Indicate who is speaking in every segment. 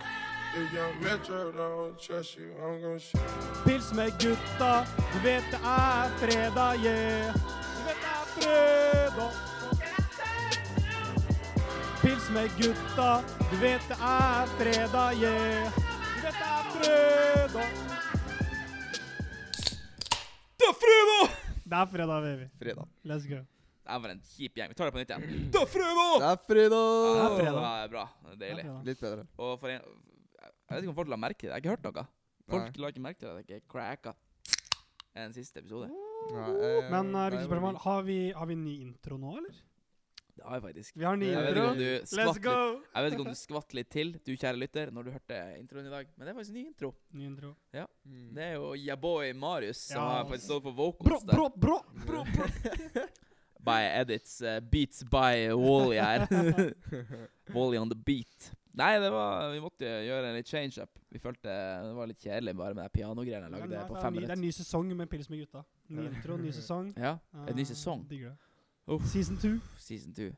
Speaker 1: If young Metro don't trust you, I'm gonna shoot.
Speaker 2: Pils med gutta, du vet det er fredag, yeah. Du vet det er fredag. Pils med gutta, du vet det er fredag, yeah. Du vet det er fredag.
Speaker 3: Det er fredag!
Speaker 2: Det er fredag, baby.
Speaker 4: Fredag.
Speaker 2: Let's go.
Speaker 3: Det er bare en kjip gjeng. Vi tar det på nytt igjen. Det er fredag!
Speaker 4: Det er
Speaker 3: Ja,
Speaker 4: fredag!
Speaker 2: er fredag.
Speaker 3: Det er bra. Det er
Speaker 2: Det er
Speaker 3: deilig.
Speaker 2: fredag.
Speaker 4: Litt bedre.
Speaker 3: Og for en Jeg vet ikke om folk la merke til det. Jeg har ikke hørt noe. Folk
Speaker 4: Nei.
Speaker 3: la ikke merke til at jeg ikke cracka i den siste episode.
Speaker 4: Nei, eh,
Speaker 2: Men eh,
Speaker 4: nei,
Speaker 2: hvilke spørsmål? Har vi, har vi ny intro nå, eller?
Speaker 3: Det har jeg faktisk.
Speaker 2: Vi har ny
Speaker 3: Jeg vet ikke
Speaker 2: intro.
Speaker 3: om du
Speaker 2: Let's
Speaker 3: skvatt
Speaker 2: go!
Speaker 3: litt, jeg vet ikke om du skvatt litt til, du kjære lytter, når du hørte introen i dag. Men det er faktisk en ny intro.
Speaker 2: Ny intro.
Speaker 4: Mm.
Speaker 3: Det er jo ya boy Marius som
Speaker 2: Ja.
Speaker 3: har faktisk stått på vocals
Speaker 2: Brå, brå, brå!
Speaker 3: der. By edits. eh, beats by Wally her. Wally on the beat. Nei, det var, vi måtte jo gjøre en litt change-up. Vi følte det var litt kjedelig bare med de pianogreiene jeg
Speaker 2: Men
Speaker 3: lagde
Speaker 2: det er-
Speaker 3: på
Speaker 2: det er
Speaker 3: fem
Speaker 2: ny- Det er ny
Speaker 3: minutter.
Speaker 2: sesong med Pils med gutta. Ny
Speaker 4: Ja.
Speaker 2: intro, ny sesong.
Speaker 3: Ja, En ny
Speaker 2: Eh,
Speaker 3: sesong?
Speaker 2: Digger det.
Speaker 3: Uff.
Speaker 2: Season two.
Speaker 3: season two.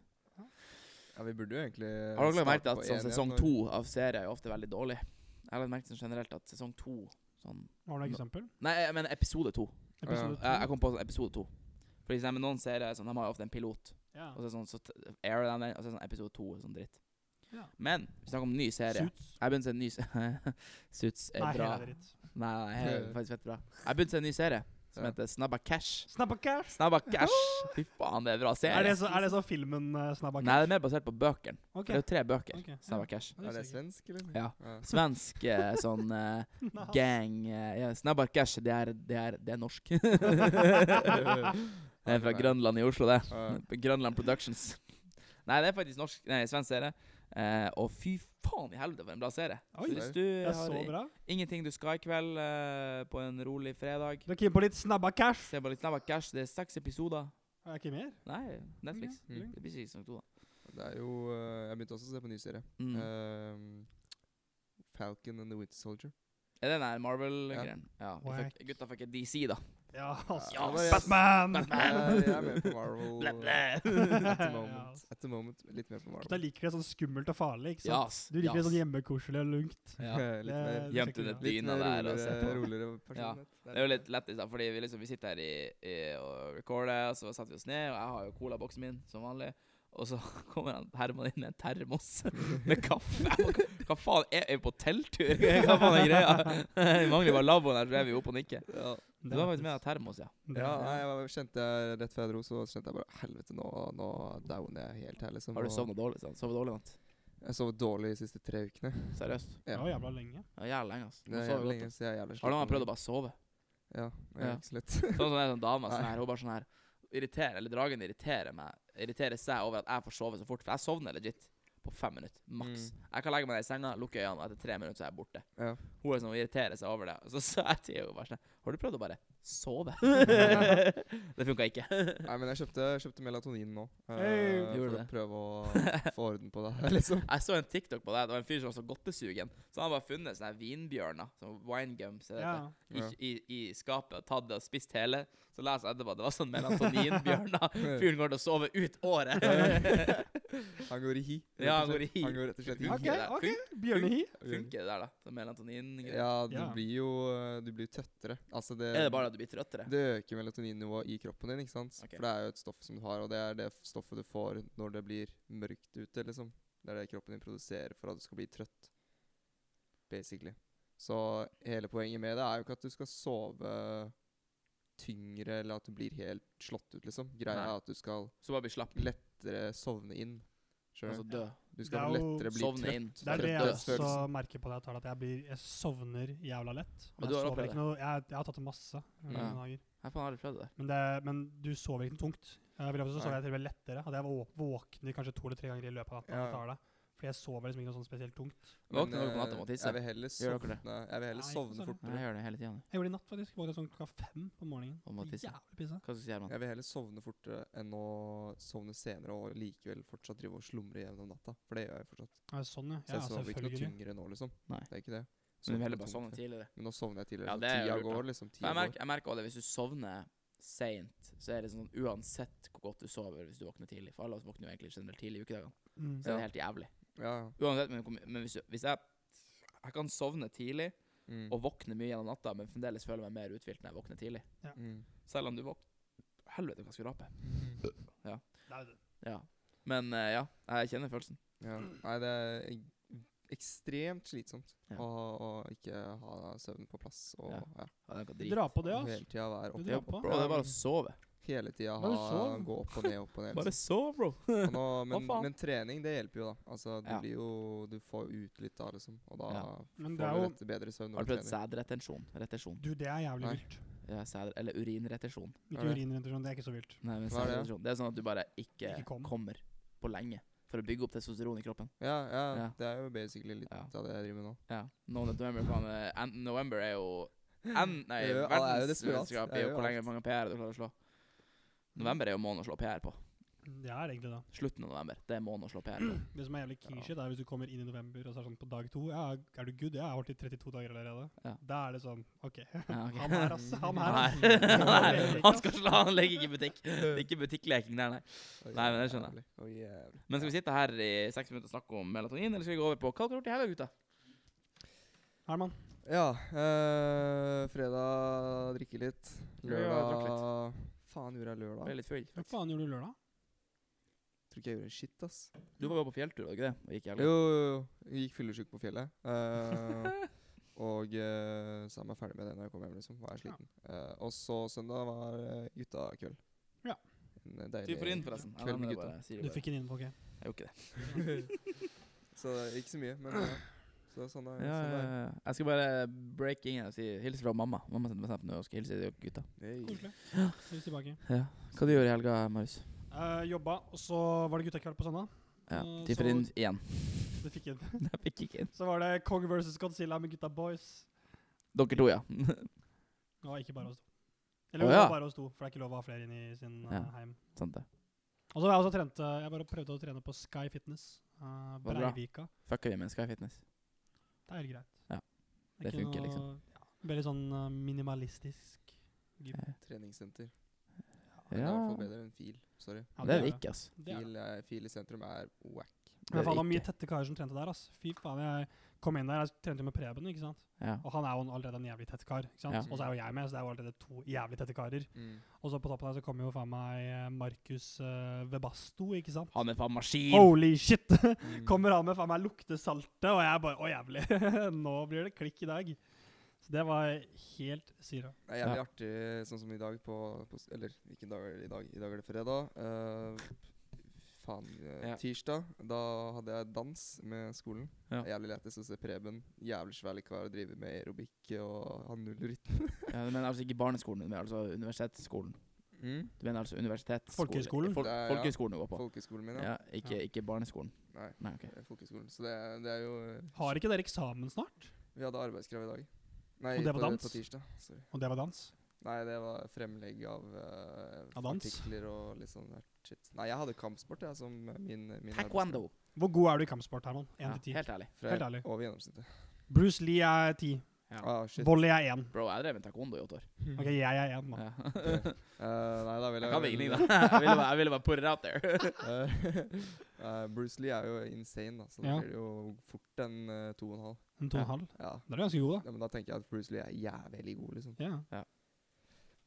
Speaker 4: Ja, vi burde jo egentlig
Speaker 3: Har dere lagt merke til at sånn
Speaker 4: starte på en igjen
Speaker 3: sesong
Speaker 4: når-
Speaker 3: to av serier er ofte veldig dårlig? Jeg har lagt merke til sånn generelt at sesong to sånn
Speaker 2: Har du et eksempel?
Speaker 3: Nei, jeg mener episode to.
Speaker 2: Episode
Speaker 3: Jeg, jeg
Speaker 2: to?
Speaker 3: kom på sånn episode to. For eksempel noen serier sånn, de har jo ofte en pilot,
Speaker 2: Ja.
Speaker 3: og så, er det sånn, så t- airer de den, og så er det sånn episode to og sånn dritt.
Speaker 2: Ja.
Speaker 3: Men vi snakker om ny serie.
Speaker 2: Suits.
Speaker 3: Jeg begynte å se en ny se- Suits er
Speaker 2: Nei,
Speaker 3: bra.
Speaker 2: hele dritt.
Speaker 3: Nei, nei, det er faktisk fett bra. Jeg begynte å se en ny serie som
Speaker 4: Ja.
Speaker 3: heter Snabba Cash.
Speaker 2: Snabba cash!
Speaker 3: Snabba Cash! Fy faen, det er en bra serie.
Speaker 2: Er det, så, er det så filmen uh, Snabba
Speaker 3: Nei,
Speaker 2: cash?
Speaker 3: det er mer basert på bøkene.
Speaker 2: Ok.
Speaker 3: Det er jo tre bøker.
Speaker 2: Ok, ja.
Speaker 3: Snabba Cash.
Speaker 2: Ja,
Speaker 4: Er det
Speaker 2: visste jeg
Speaker 4: svensk, eller?
Speaker 3: Ja. Svensk eh, sånn eh,
Speaker 2: ikke. Nei.
Speaker 3: gang eh, ja, Snabba Cash, det er, det er, det er norsk. det er fra Grønland i Oslo, det.
Speaker 4: Ja.
Speaker 3: Grønland Productions. Nei, det er faktisk norsk, nei, svensk serie. Eh, og fy faen i helvete for en bra serie. Så
Speaker 2: Oi,
Speaker 3: hvis du
Speaker 2: Det er så
Speaker 3: har
Speaker 2: bra.
Speaker 3: ingenting du skal i kveld eh, på en rolig fredag,
Speaker 2: Du er keen på litt Snabba cash?
Speaker 3: se bare litt Snabba Cash. Det er seks episoder.
Speaker 2: Er det ikke mer?
Speaker 3: Nei, Netflix.
Speaker 2: Ok,
Speaker 4: Mm.
Speaker 3: Det blir sesong to, da.
Speaker 4: Det er jo eh, Jeg begynte også å se på en ny serie.
Speaker 3: Mm.
Speaker 4: Ehm, Falcon and the Winter Soldier.
Speaker 3: Er det den der Marvel-greien? Ja. vi
Speaker 2: Wack.
Speaker 3: fikk, gutta fikk et DC, da.
Speaker 2: Ja, altså.
Speaker 3: Ja,
Speaker 4: men jeg-
Speaker 2: Batman!
Speaker 4: Jeg, jeg er med på Marvel
Speaker 3: Blæ,
Speaker 4: eh,
Speaker 3: blæ.
Speaker 4: at the
Speaker 2: Ja,
Speaker 4: moment.
Speaker 2: altså.
Speaker 4: At the moment litt mer på
Speaker 2: Gutta
Speaker 4: Marvel.
Speaker 2: liker det sånn skummelt og farlig, ikke sant?
Speaker 3: Jas.
Speaker 2: Du liker det
Speaker 3: jas.
Speaker 2: sånn hjemmekoselig og lungt.
Speaker 3: Ja.
Speaker 4: Eh, litt mer,
Speaker 2: Det-
Speaker 3: Gjemt
Speaker 2: sjekker
Speaker 3: under
Speaker 2: vi,
Speaker 4: litt
Speaker 3: dyna
Speaker 4: mer
Speaker 3: der og se
Speaker 4: roligere,
Speaker 3: på.
Speaker 4: roligere personlighet.
Speaker 3: Det er jo litt lættis, da, fordi vi, liksom, vi sitter her i, i, og recorder, og så setter vi oss ned, og jeg har jo colaboksen min som vanlig. Og så kommer han Herman inn med en termos med kaffe. Jeg bare, Hva faen, er er vi på telttur? Hva faen er greia? Vi mangler bare lavvoen her, så er vi oppe og nikker.
Speaker 4: Ja.
Speaker 3: Du har faktisk med deg termos, ja.
Speaker 2: Det er
Speaker 4: Ja,
Speaker 2: faktisk-
Speaker 4: nei, jeg kjente jeg rett før jeg dro, så kjente jeg bare Helvete, nå, nå downer jeg helt her, liksom.
Speaker 3: Har du
Speaker 4: og-
Speaker 3: sovnet dårlig? sant? Sovet dårlig i natt?
Speaker 4: Jeg sov dårlig de siste tre ukene.
Speaker 3: Seriøst?
Speaker 2: Det
Speaker 4: Ja.
Speaker 2: var jævla lenge.
Speaker 3: Det er jævlig lenge, altså.
Speaker 4: Det
Speaker 3: Nå
Speaker 4: er
Speaker 3: sover
Speaker 4: jævlig
Speaker 3: vi
Speaker 4: lenge
Speaker 3: godt.
Speaker 4: siden jeg er jævlig
Speaker 3: Har du noen gang
Speaker 4: sliten
Speaker 3: prøvd
Speaker 4: nå.
Speaker 3: å bare sove?
Speaker 4: Ja, jeg
Speaker 3: Ja.
Speaker 4: er ikke så lett.
Speaker 3: Sånn som det er sånn dame sånn
Speaker 4: Nei.
Speaker 3: her, hun bare sånn her irriterer, Eller dragen irriterer meg Irriterer seg over at jeg får sove så fort For jeg sovner legit på fem minutter, maks Jeg kan legge meg ned i senga, lukke øynene Og etter tre minutter så er jeg borte
Speaker 4: Ja.
Speaker 3: Hun er sånn, hun irriterer seg over det Så sa jeg til henne bare sånn Har du prøvd å bare sove? det funket ikke
Speaker 4: Nei, men jeg kjøpte, kjøpte melatonin nå. eh,
Speaker 2: Hey.
Speaker 3: Gjorde
Speaker 4: for å
Speaker 3: det.
Speaker 4: prøve å få orden på det her, liksom.
Speaker 3: Jeg så en TikTok på det Det var en fyr som var så godtesugen Så han hadde bare funnet sånne her vinbjørner Sånn wine gums er det heter,
Speaker 2: Ja.
Speaker 3: i,
Speaker 4: Ja.
Speaker 3: i, I skapet og tatt det og spist hele Så leser jeg etterpå at Det var sånn melatoninbjørner Fyren går til å sove ut året
Speaker 4: Han går i hi. rett
Speaker 3: Ja,
Speaker 4: og
Speaker 3: han går
Speaker 4: slett.
Speaker 3: i hi.
Speaker 4: Han går rett og slett i
Speaker 3: Funker
Speaker 2: Ok,
Speaker 4: hi.
Speaker 3: det der?
Speaker 2: ok.
Speaker 3: Fun-
Speaker 2: Bjørnehi.
Speaker 3: Funker det der, da? Sånn melatonin-greier?
Speaker 4: Ja, du
Speaker 2: Ja.
Speaker 4: blir jo eh, Du blir jo tettere. Altså, det
Speaker 3: Er det bare at du blir trøttere?
Speaker 4: det øker melatoninnivået i kroppen din, ikke sant?
Speaker 3: Ok.
Speaker 4: For det er jo et stoff som du har, og det er det f- stoffet du får når det blir mørkt ute, liksom. Det er det kroppen din produserer for at du skal bli trøtt, basically. Så hele poenget med det er jo ikke at du skal sove tyngre, eller at du blir helt slått ut, liksom. Greia
Speaker 3: Nei.
Speaker 4: er at du skal
Speaker 3: Så bare blir slapp,
Speaker 4: lettere sovne inn. Skjønner
Speaker 3: altså
Speaker 4: du?
Speaker 3: dø.
Speaker 4: Du
Speaker 2: Det er
Speaker 4: skal
Speaker 2: jo-
Speaker 4: lettere bli
Speaker 3: Sovne
Speaker 4: trøtt.
Speaker 3: inn.
Speaker 2: Det er det altså. jeg
Speaker 3: Trøtthetsfølelsen.
Speaker 2: også merker på det jeg tar, at jeg, blir, jeg sovner jævla lett. Men
Speaker 3: Og du
Speaker 2: jeg,
Speaker 3: har
Speaker 2: sover
Speaker 3: opplevd
Speaker 2: ikke noe, jeg, jeg har tatt det masse. i
Speaker 3: Ja.
Speaker 2: noen dager.
Speaker 3: Jeg faen har aldri prøvd det der.
Speaker 2: Men, det, men du sover ikke noe tungt. Jeg vil også
Speaker 4: Nei.
Speaker 2: sove jeg til og med lettere. At jeg vå- våkner kanskje to eller tre ganger i løpet av natta. når
Speaker 4: Ja.
Speaker 2: jeg tar det. Fordi jeg sover liksom ikke noe sånn spesielt tungt.
Speaker 4: Men,
Speaker 3: Våkner dere på
Speaker 4: eh,
Speaker 3: natta og må tisse?
Speaker 4: Jeg vil heller
Speaker 3: Gjør dere det?
Speaker 4: sovne, jeg vil
Speaker 2: Nei,
Speaker 4: heller
Speaker 2: ikke
Speaker 4: sovne
Speaker 2: sovne.
Speaker 3: Jeg
Speaker 4: fortere.
Speaker 3: gjør det hele tiden.
Speaker 2: Jeg gjorde det i natt faktisk. Våknet sånn klokka fem på morgenen.
Speaker 3: Og må tisse.
Speaker 2: Jævlig pisse.
Speaker 3: Hva skal du si, Herman?
Speaker 4: Jeg vil heller sovne fortere enn å sovne senere og likevel fortsatt drive og slumre gjennom natta. For det gjør jeg fortsatt.
Speaker 2: Ja, sånn, ja.
Speaker 4: Så
Speaker 2: ja
Speaker 4: jeg sover ikke noe
Speaker 2: selvfølgelig.
Speaker 4: tyngre nå, liksom.
Speaker 3: Nei.
Speaker 4: Det er ikke det.
Speaker 3: Du vil
Speaker 4: Sovner
Speaker 3: heller bare
Speaker 4: ikke tungt
Speaker 3: sovne
Speaker 4: før.
Speaker 3: tidligere.
Speaker 4: Men nå sovner jeg tidligere.
Speaker 3: Ja,
Speaker 4: så
Speaker 3: det er jo
Speaker 4: tida
Speaker 3: lurt, da.
Speaker 4: går, liksom.
Speaker 3: Men
Speaker 4: Tida
Speaker 3: jeg merker, jeg merker også det, hvis du sovner seint, så er det sånn uansett hvor godt du sover hvis du våkner tidlig. For alle oss våkner jo egentlig generelt tidlig i ukedagene.
Speaker 2: Mm.
Speaker 3: Så er det helt jævlig.
Speaker 4: går. Ja,
Speaker 3: Uansett, men, hvor mye- men hvis, du, hvis jeg Jeg kan sovne tidlig
Speaker 4: Mm.
Speaker 3: og våkne mye gjennom natta, men fremdeles føle meg mer uthvilt når jeg våkner tidlig.
Speaker 4: Mm.
Speaker 3: Selv om du våkner Helvete, hva skal jeg rape?
Speaker 2: Nei, det-
Speaker 3: Ja. Men eh, ja, jeg kjenner følelsen.
Speaker 4: Ja. Nei, det er ek- ekstremt slitsomt
Speaker 3: Ja.
Speaker 4: å, å ikke ha søvn på plass og
Speaker 3: Ja.
Speaker 4: ja.
Speaker 3: Ja, den kan
Speaker 2: Du
Speaker 3: drite.
Speaker 2: drar på det,
Speaker 4: og
Speaker 2: altså.
Speaker 4: hele tida være
Speaker 2: Du
Speaker 4: oppe.
Speaker 2: drar på.
Speaker 3: Bro, det er bare å sove.
Speaker 4: Hele tida
Speaker 2: Bare
Speaker 4: ha,
Speaker 2: sov.
Speaker 4: gå opp og ned, opp og ned. liksom.
Speaker 3: sov, bro.
Speaker 4: Og nå, men,
Speaker 3: faen?
Speaker 4: men trening, det hjelper jo, da. Altså, du
Speaker 3: Ja.
Speaker 4: blir jo Du får jo ut litt da, liksom. Og da
Speaker 3: Ja.
Speaker 2: Men det
Speaker 4: får
Speaker 2: er
Speaker 4: du
Speaker 2: jo
Speaker 4: rett, bedre søvn
Speaker 3: Har
Speaker 4: når
Speaker 3: du
Speaker 4: du
Speaker 3: prøvd
Speaker 4: trener.
Speaker 3: sædretensjon? Retensjon.
Speaker 2: Du, det er jævlig
Speaker 4: Nei.
Speaker 2: vilt.
Speaker 3: Ja, sæd, eller urinretensjon.
Speaker 4: Er
Speaker 2: Ikke
Speaker 4: det?
Speaker 2: urinretensjon, det er ikke så vilt.
Speaker 3: Nei, men
Speaker 4: Hva er det?
Speaker 3: sædretensjon. Det er sånn at du bare ikke,
Speaker 2: Ikke kom.
Speaker 3: kommer på lenge for å bygge opp testosteron i kroppen.
Speaker 4: Ja, ja,
Speaker 3: Ja.
Speaker 4: Det er jo basically litt
Speaker 3: Ja.
Speaker 4: av det jeg driver med nå.
Speaker 3: Ja. No November, faen, eh, en- November er jo en, Nei,
Speaker 4: Det er jo- alle er jo desperat.
Speaker 3: verdensmesterskap
Speaker 4: Det
Speaker 3: i
Speaker 4: er
Speaker 3: jo
Speaker 4: jo
Speaker 3: hvor lenge
Speaker 4: alt.
Speaker 3: mange PR du klarer å slå. November er jo måneden å slå PR på.
Speaker 2: Det er egentlig det.
Speaker 3: Slutten av november. Det er måneden å slå PR på.
Speaker 2: Det som er jævlig
Speaker 3: Ja.
Speaker 2: key-shit, er hvis du kommer inn i november og så er det sånn på dag to ja, Er du good? Ja, jeg har vært i 32 dager allerede.
Speaker 3: Ja.
Speaker 2: Da er det sånn OK.
Speaker 3: Ja, ok.
Speaker 2: Han her, ass. Han her. ass.
Speaker 3: Nei. Nei, han skal slå, han legger ikke i butikk. Det er ikke butikkleking der, nei.
Speaker 4: Å,
Speaker 3: Nei, men det skjønner
Speaker 4: jævlig. Å, jævlig.
Speaker 3: Men skal vi sitte her i seks minutter og snakke om melatonin, eller skal vi gå over på hva har dere gjort i helga, gutta?
Speaker 2: Herman.
Speaker 4: Ja. øh, fredag drikke litt.
Speaker 3: Ja, jeg drakk litt.
Speaker 4: Lørdag Faen, gjorde jeg lørdag?
Speaker 3: Ble litt full.
Speaker 2: Hva faen gjorde du lørdag?
Speaker 4: Tror ikke jeg gjorde shit, ass.
Speaker 3: Du var jo på fjelltur, var du ikke det? Og gikk
Speaker 4: Jo,
Speaker 3: jævlig.
Speaker 4: jo, jo. Jeg gikk fyllesyk på fjellet. eh, og uh, sa meg ferdig med det når jeg kom hjem, liksom. Var jeg
Speaker 2: Ja.
Speaker 4: sliten. Eh, og så søndag var uh, gutta kveld.
Speaker 2: Ja.
Speaker 4: En eh, deilig
Speaker 3: Tid for inn, forresten. Ja,
Speaker 4: Kveld
Speaker 3: men
Speaker 4: med
Speaker 3: det
Speaker 4: gutta.
Speaker 3: bare- sier
Speaker 2: Du
Speaker 3: det bare.
Speaker 2: fikk den inn, OK.
Speaker 3: Jeg gjorde ikke det.
Speaker 4: Så det er ikke så mye, men ja. så det er sånn det er.
Speaker 3: Ja,
Speaker 4: sånn det er.
Speaker 3: ja, ja. Jeg skal bare break in og si hilse fra mamma. Mamma sendte meg snap nå og skal hilse til dere gutta.
Speaker 4: Hey.
Speaker 2: Koselig. Hilse tilbake.
Speaker 3: Ja. Hva du gjør i helga, Marius?
Speaker 2: Eh, jobba, og så var det guttekveld på søndag.
Speaker 3: Ja,
Speaker 2: Eh,
Speaker 3: tid for
Speaker 2: så-
Speaker 3: inn igjen.
Speaker 2: Det fikk inn.
Speaker 3: Jeg fikk ikke inn.
Speaker 2: Så var det Kong versus Godzilla med gutta boys.
Speaker 3: Dere to, ja.
Speaker 2: Og ikke bare oss to. Eller
Speaker 3: Å,
Speaker 2: det var
Speaker 3: ja.
Speaker 2: bare oss to, for det er ikke lov å ha flere inn i sin eh,
Speaker 3: Ja.
Speaker 2: heim.
Speaker 3: Sant det.
Speaker 2: Og så var jeg også trente Jeg bare prøvde å trene på Sky Fitness. eh,
Speaker 3: bra.
Speaker 2: Breivika.
Speaker 3: Fucker vi med Sky Fitness?
Speaker 2: Det er helt greit.
Speaker 3: Ja.
Speaker 2: er
Speaker 3: Det
Speaker 2: ikke
Speaker 3: funker,
Speaker 2: noe-
Speaker 3: liksom.
Speaker 2: Ja, veldig sånn eh, minimalistisk.
Speaker 4: Treningssenter. Det er i
Speaker 3: Eh, Ja.
Speaker 4: hvert fall bedre enn fil. Sorry.
Speaker 2: Ja,
Speaker 3: Det er vi ikke, altså.
Speaker 2: Det er det.
Speaker 4: Fil, er- fil i sentrum er wack.
Speaker 3: Det
Speaker 2: Men faen, det
Speaker 3: er
Speaker 2: var
Speaker 3: vi
Speaker 2: mye
Speaker 3: ikke.
Speaker 2: tette karer som trente der, ass. Fy faen, jeg kom inn der, jeg trente jo med Preben, ikke sant.
Speaker 3: Ja.
Speaker 2: Og han er jo en- allerede en jævlig tett kar, ikke sant.
Speaker 3: Ja.
Speaker 2: Og så er jo jeg med, så det er jo allerede to jævlig tette karer.
Speaker 4: Mm.
Speaker 2: Og så på toppen der så kommer jo faen meg eh, Markus eh, Vebasto, ikke sant.
Speaker 3: Han er faen maskin!
Speaker 2: Holy shit!
Speaker 4: Mm.
Speaker 2: Kommer han med faen meg luktesaltet, og jeg bare Å, jævlig. Nå blir det klikk i dag. Så det var helt syra.
Speaker 4: Det er jævlig artig, sånn som i dag på, på s- Eller hvilken dag er det i dag? I dag er det fredag. eh, faen, eh,
Speaker 3: Ja.
Speaker 4: tirsdag. Da hadde jeg dans med skolen.
Speaker 3: Ja.
Speaker 4: Jævlig lættis å se Preben. Jævlig svær kar og driver med aerobikk og har null rytme.
Speaker 3: Ja, du mener altså ikke barneskolen, men altså universitetsskolen.
Speaker 4: Mm.
Speaker 3: Du mener altså universitetsskolen.
Speaker 2: Folkehøyskolen?
Speaker 3: Fol
Speaker 4: Det er- ja.
Speaker 3: folkehøyskolen du går på.
Speaker 4: Folkehøgskolen min, ja.
Speaker 3: Ja, ikke,
Speaker 2: Ja.
Speaker 3: ikke barneskolen.
Speaker 4: Nei.
Speaker 3: Nei, ok.
Speaker 4: Eh, Folkehøgskolen. Så det, er- det er jo eh,
Speaker 2: Har ikke dere eksamen snart?
Speaker 4: Vi hadde arbeidskrav i dag. Nei,
Speaker 2: Og det var
Speaker 4: på,
Speaker 2: dans?
Speaker 4: på tirsdag. Sorry.
Speaker 2: Og det var dans?
Speaker 4: Nei, det var fremlegg av eh,
Speaker 2: Av dans?
Speaker 4: artikler og litt sånn der shit. Nei, jeg hadde kampsport, jeg, som min, min
Speaker 3: Taekwondo.
Speaker 2: Hvor god er du i kampsport, Herman?
Speaker 3: Ja,
Speaker 2: 1 til 10?
Speaker 3: helt ærlig.
Speaker 4: arbeidskrav. Fra
Speaker 2: Helt ærlig.
Speaker 4: Over gjennomsnittet.
Speaker 2: Bruce Lee er 10.
Speaker 3: Ja.
Speaker 4: Ah, shit. Mm.
Speaker 2: Volley er 1.
Speaker 3: Bro, jeg drev med taekwondo i åtte år.
Speaker 2: Ok, jeg er 1, mann.
Speaker 3: Ja.
Speaker 4: Eh, nei, da vil
Speaker 3: Jeg
Speaker 4: jeg
Speaker 3: kan ingenting, da. Jeg ville bare, jeg ville bare put it out there.
Speaker 4: Eh, eh, Bruce Lee er jo insane, da, så da
Speaker 2: Ja.
Speaker 4: blir det jo fort en eh, to og en halv.
Speaker 2: En 2,5.
Speaker 4: Ja.
Speaker 2: Da er du ganske god, da.
Speaker 4: ja, Men da tenker jeg at Bruce Lee er jævlig god, liksom.
Speaker 2: Ja.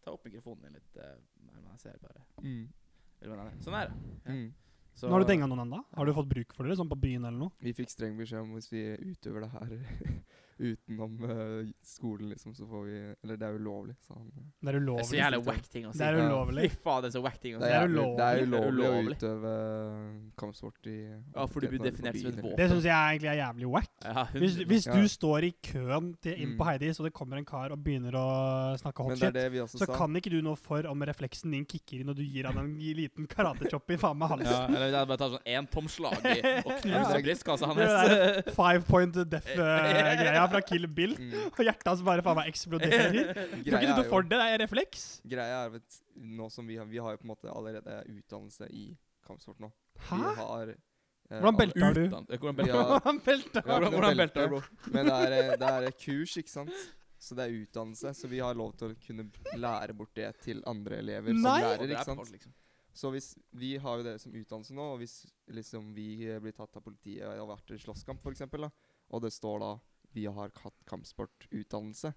Speaker 3: Ta opp mikrofonen din litt. eh, Nei, men jeg ser bare Eller, men, Sånn er det. Mm. Ja.
Speaker 4: Mm.
Speaker 3: Så-
Speaker 2: Nå har du denga noen ennå? Har du fått bruk for det sånn på byen eller noe?
Speaker 4: Vi fikk streng beskjed om hvis vi utøver det her utenom eh, skolen, liksom, så får vi Eller det er ulovlig, sa han. eh,
Speaker 2: Det er
Speaker 3: Det er så
Speaker 2: ulovlig. liksom.
Speaker 3: jævlig whack ting å si.
Speaker 2: Det er ulovlig.
Speaker 3: Fy faen, det er så whack ting å
Speaker 4: Det
Speaker 3: si.
Speaker 2: er
Speaker 4: er, jævlig- det er
Speaker 3: ulovlig.
Speaker 4: ulovlig å
Speaker 3: Ulovlig.
Speaker 4: utøve kampsport i
Speaker 3: Ja, for du blir
Speaker 4: offentligheten eller på
Speaker 3: definert som et
Speaker 4: byen,
Speaker 3: våpen.
Speaker 4: eller-
Speaker 2: Det syns jeg egentlig er jævlig wack.
Speaker 3: Ja, hun-
Speaker 2: Hvis, hvis
Speaker 4: Ja.
Speaker 2: du står i køen til inn på
Speaker 4: Mm.
Speaker 2: Heidis, og det kommer en kar og begynner å snakke
Speaker 4: Men
Speaker 2: hot
Speaker 4: det er
Speaker 2: shit,
Speaker 4: det vi også
Speaker 2: så
Speaker 4: sa.
Speaker 2: kan ikke du noe for om refleksen din kicker inn og du gir han en liten karatechop i faen meg halsen.
Speaker 3: ja, eller jeg bare tar sånn entomslag i og knuser
Speaker 4: Ja.
Speaker 3: brystkassa
Speaker 2: Det
Speaker 3: hans.
Speaker 2: Five point death-greia fra Kill Bill.
Speaker 4: Mm.
Speaker 2: Og hjertet hans bare faen meg eksploderer. Tror ikke
Speaker 4: Greia
Speaker 2: du
Speaker 4: er
Speaker 2: du
Speaker 4: jo-
Speaker 2: får det? Det er refleks.
Speaker 4: Greia er at nå som vi har Vi har jo på en måte allerede utdannelse i kampsport nå.
Speaker 2: Hæ?
Speaker 4: Vi har eh,
Speaker 2: Hvordan
Speaker 4: alle-
Speaker 2: belter du?
Speaker 3: Utan- Hvordan
Speaker 4: Vi
Speaker 3: belter
Speaker 4: har-
Speaker 2: Hvordan belter
Speaker 4: vi har
Speaker 3: Hvordan-
Speaker 4: ikke noe
Speaker 3: hvordan
Speaker 4: belte,
Speaker 3: belter du,
Speaker 4: Men det er, eh, det er eh, kurs, ikke sant? Så det er utdannelse. Så vi har lov til å kunne lære bort det til andre elever
Speaker 2: Nei!
Speaker 4: som lærer,
Speaker 3: Det er
Speaker 4: ikke
Speaker 3: på
Speaker 4: sant?
Speaker 3: folk, liksom.
Speaker 4: Så hvis vi har jo det som utdannelse nå, og hvis liksom vi eh, blir tatt av politiet og har vært i slåsskamp, for eksempel, da, og det står da vi har hatt kampsportutdannelse,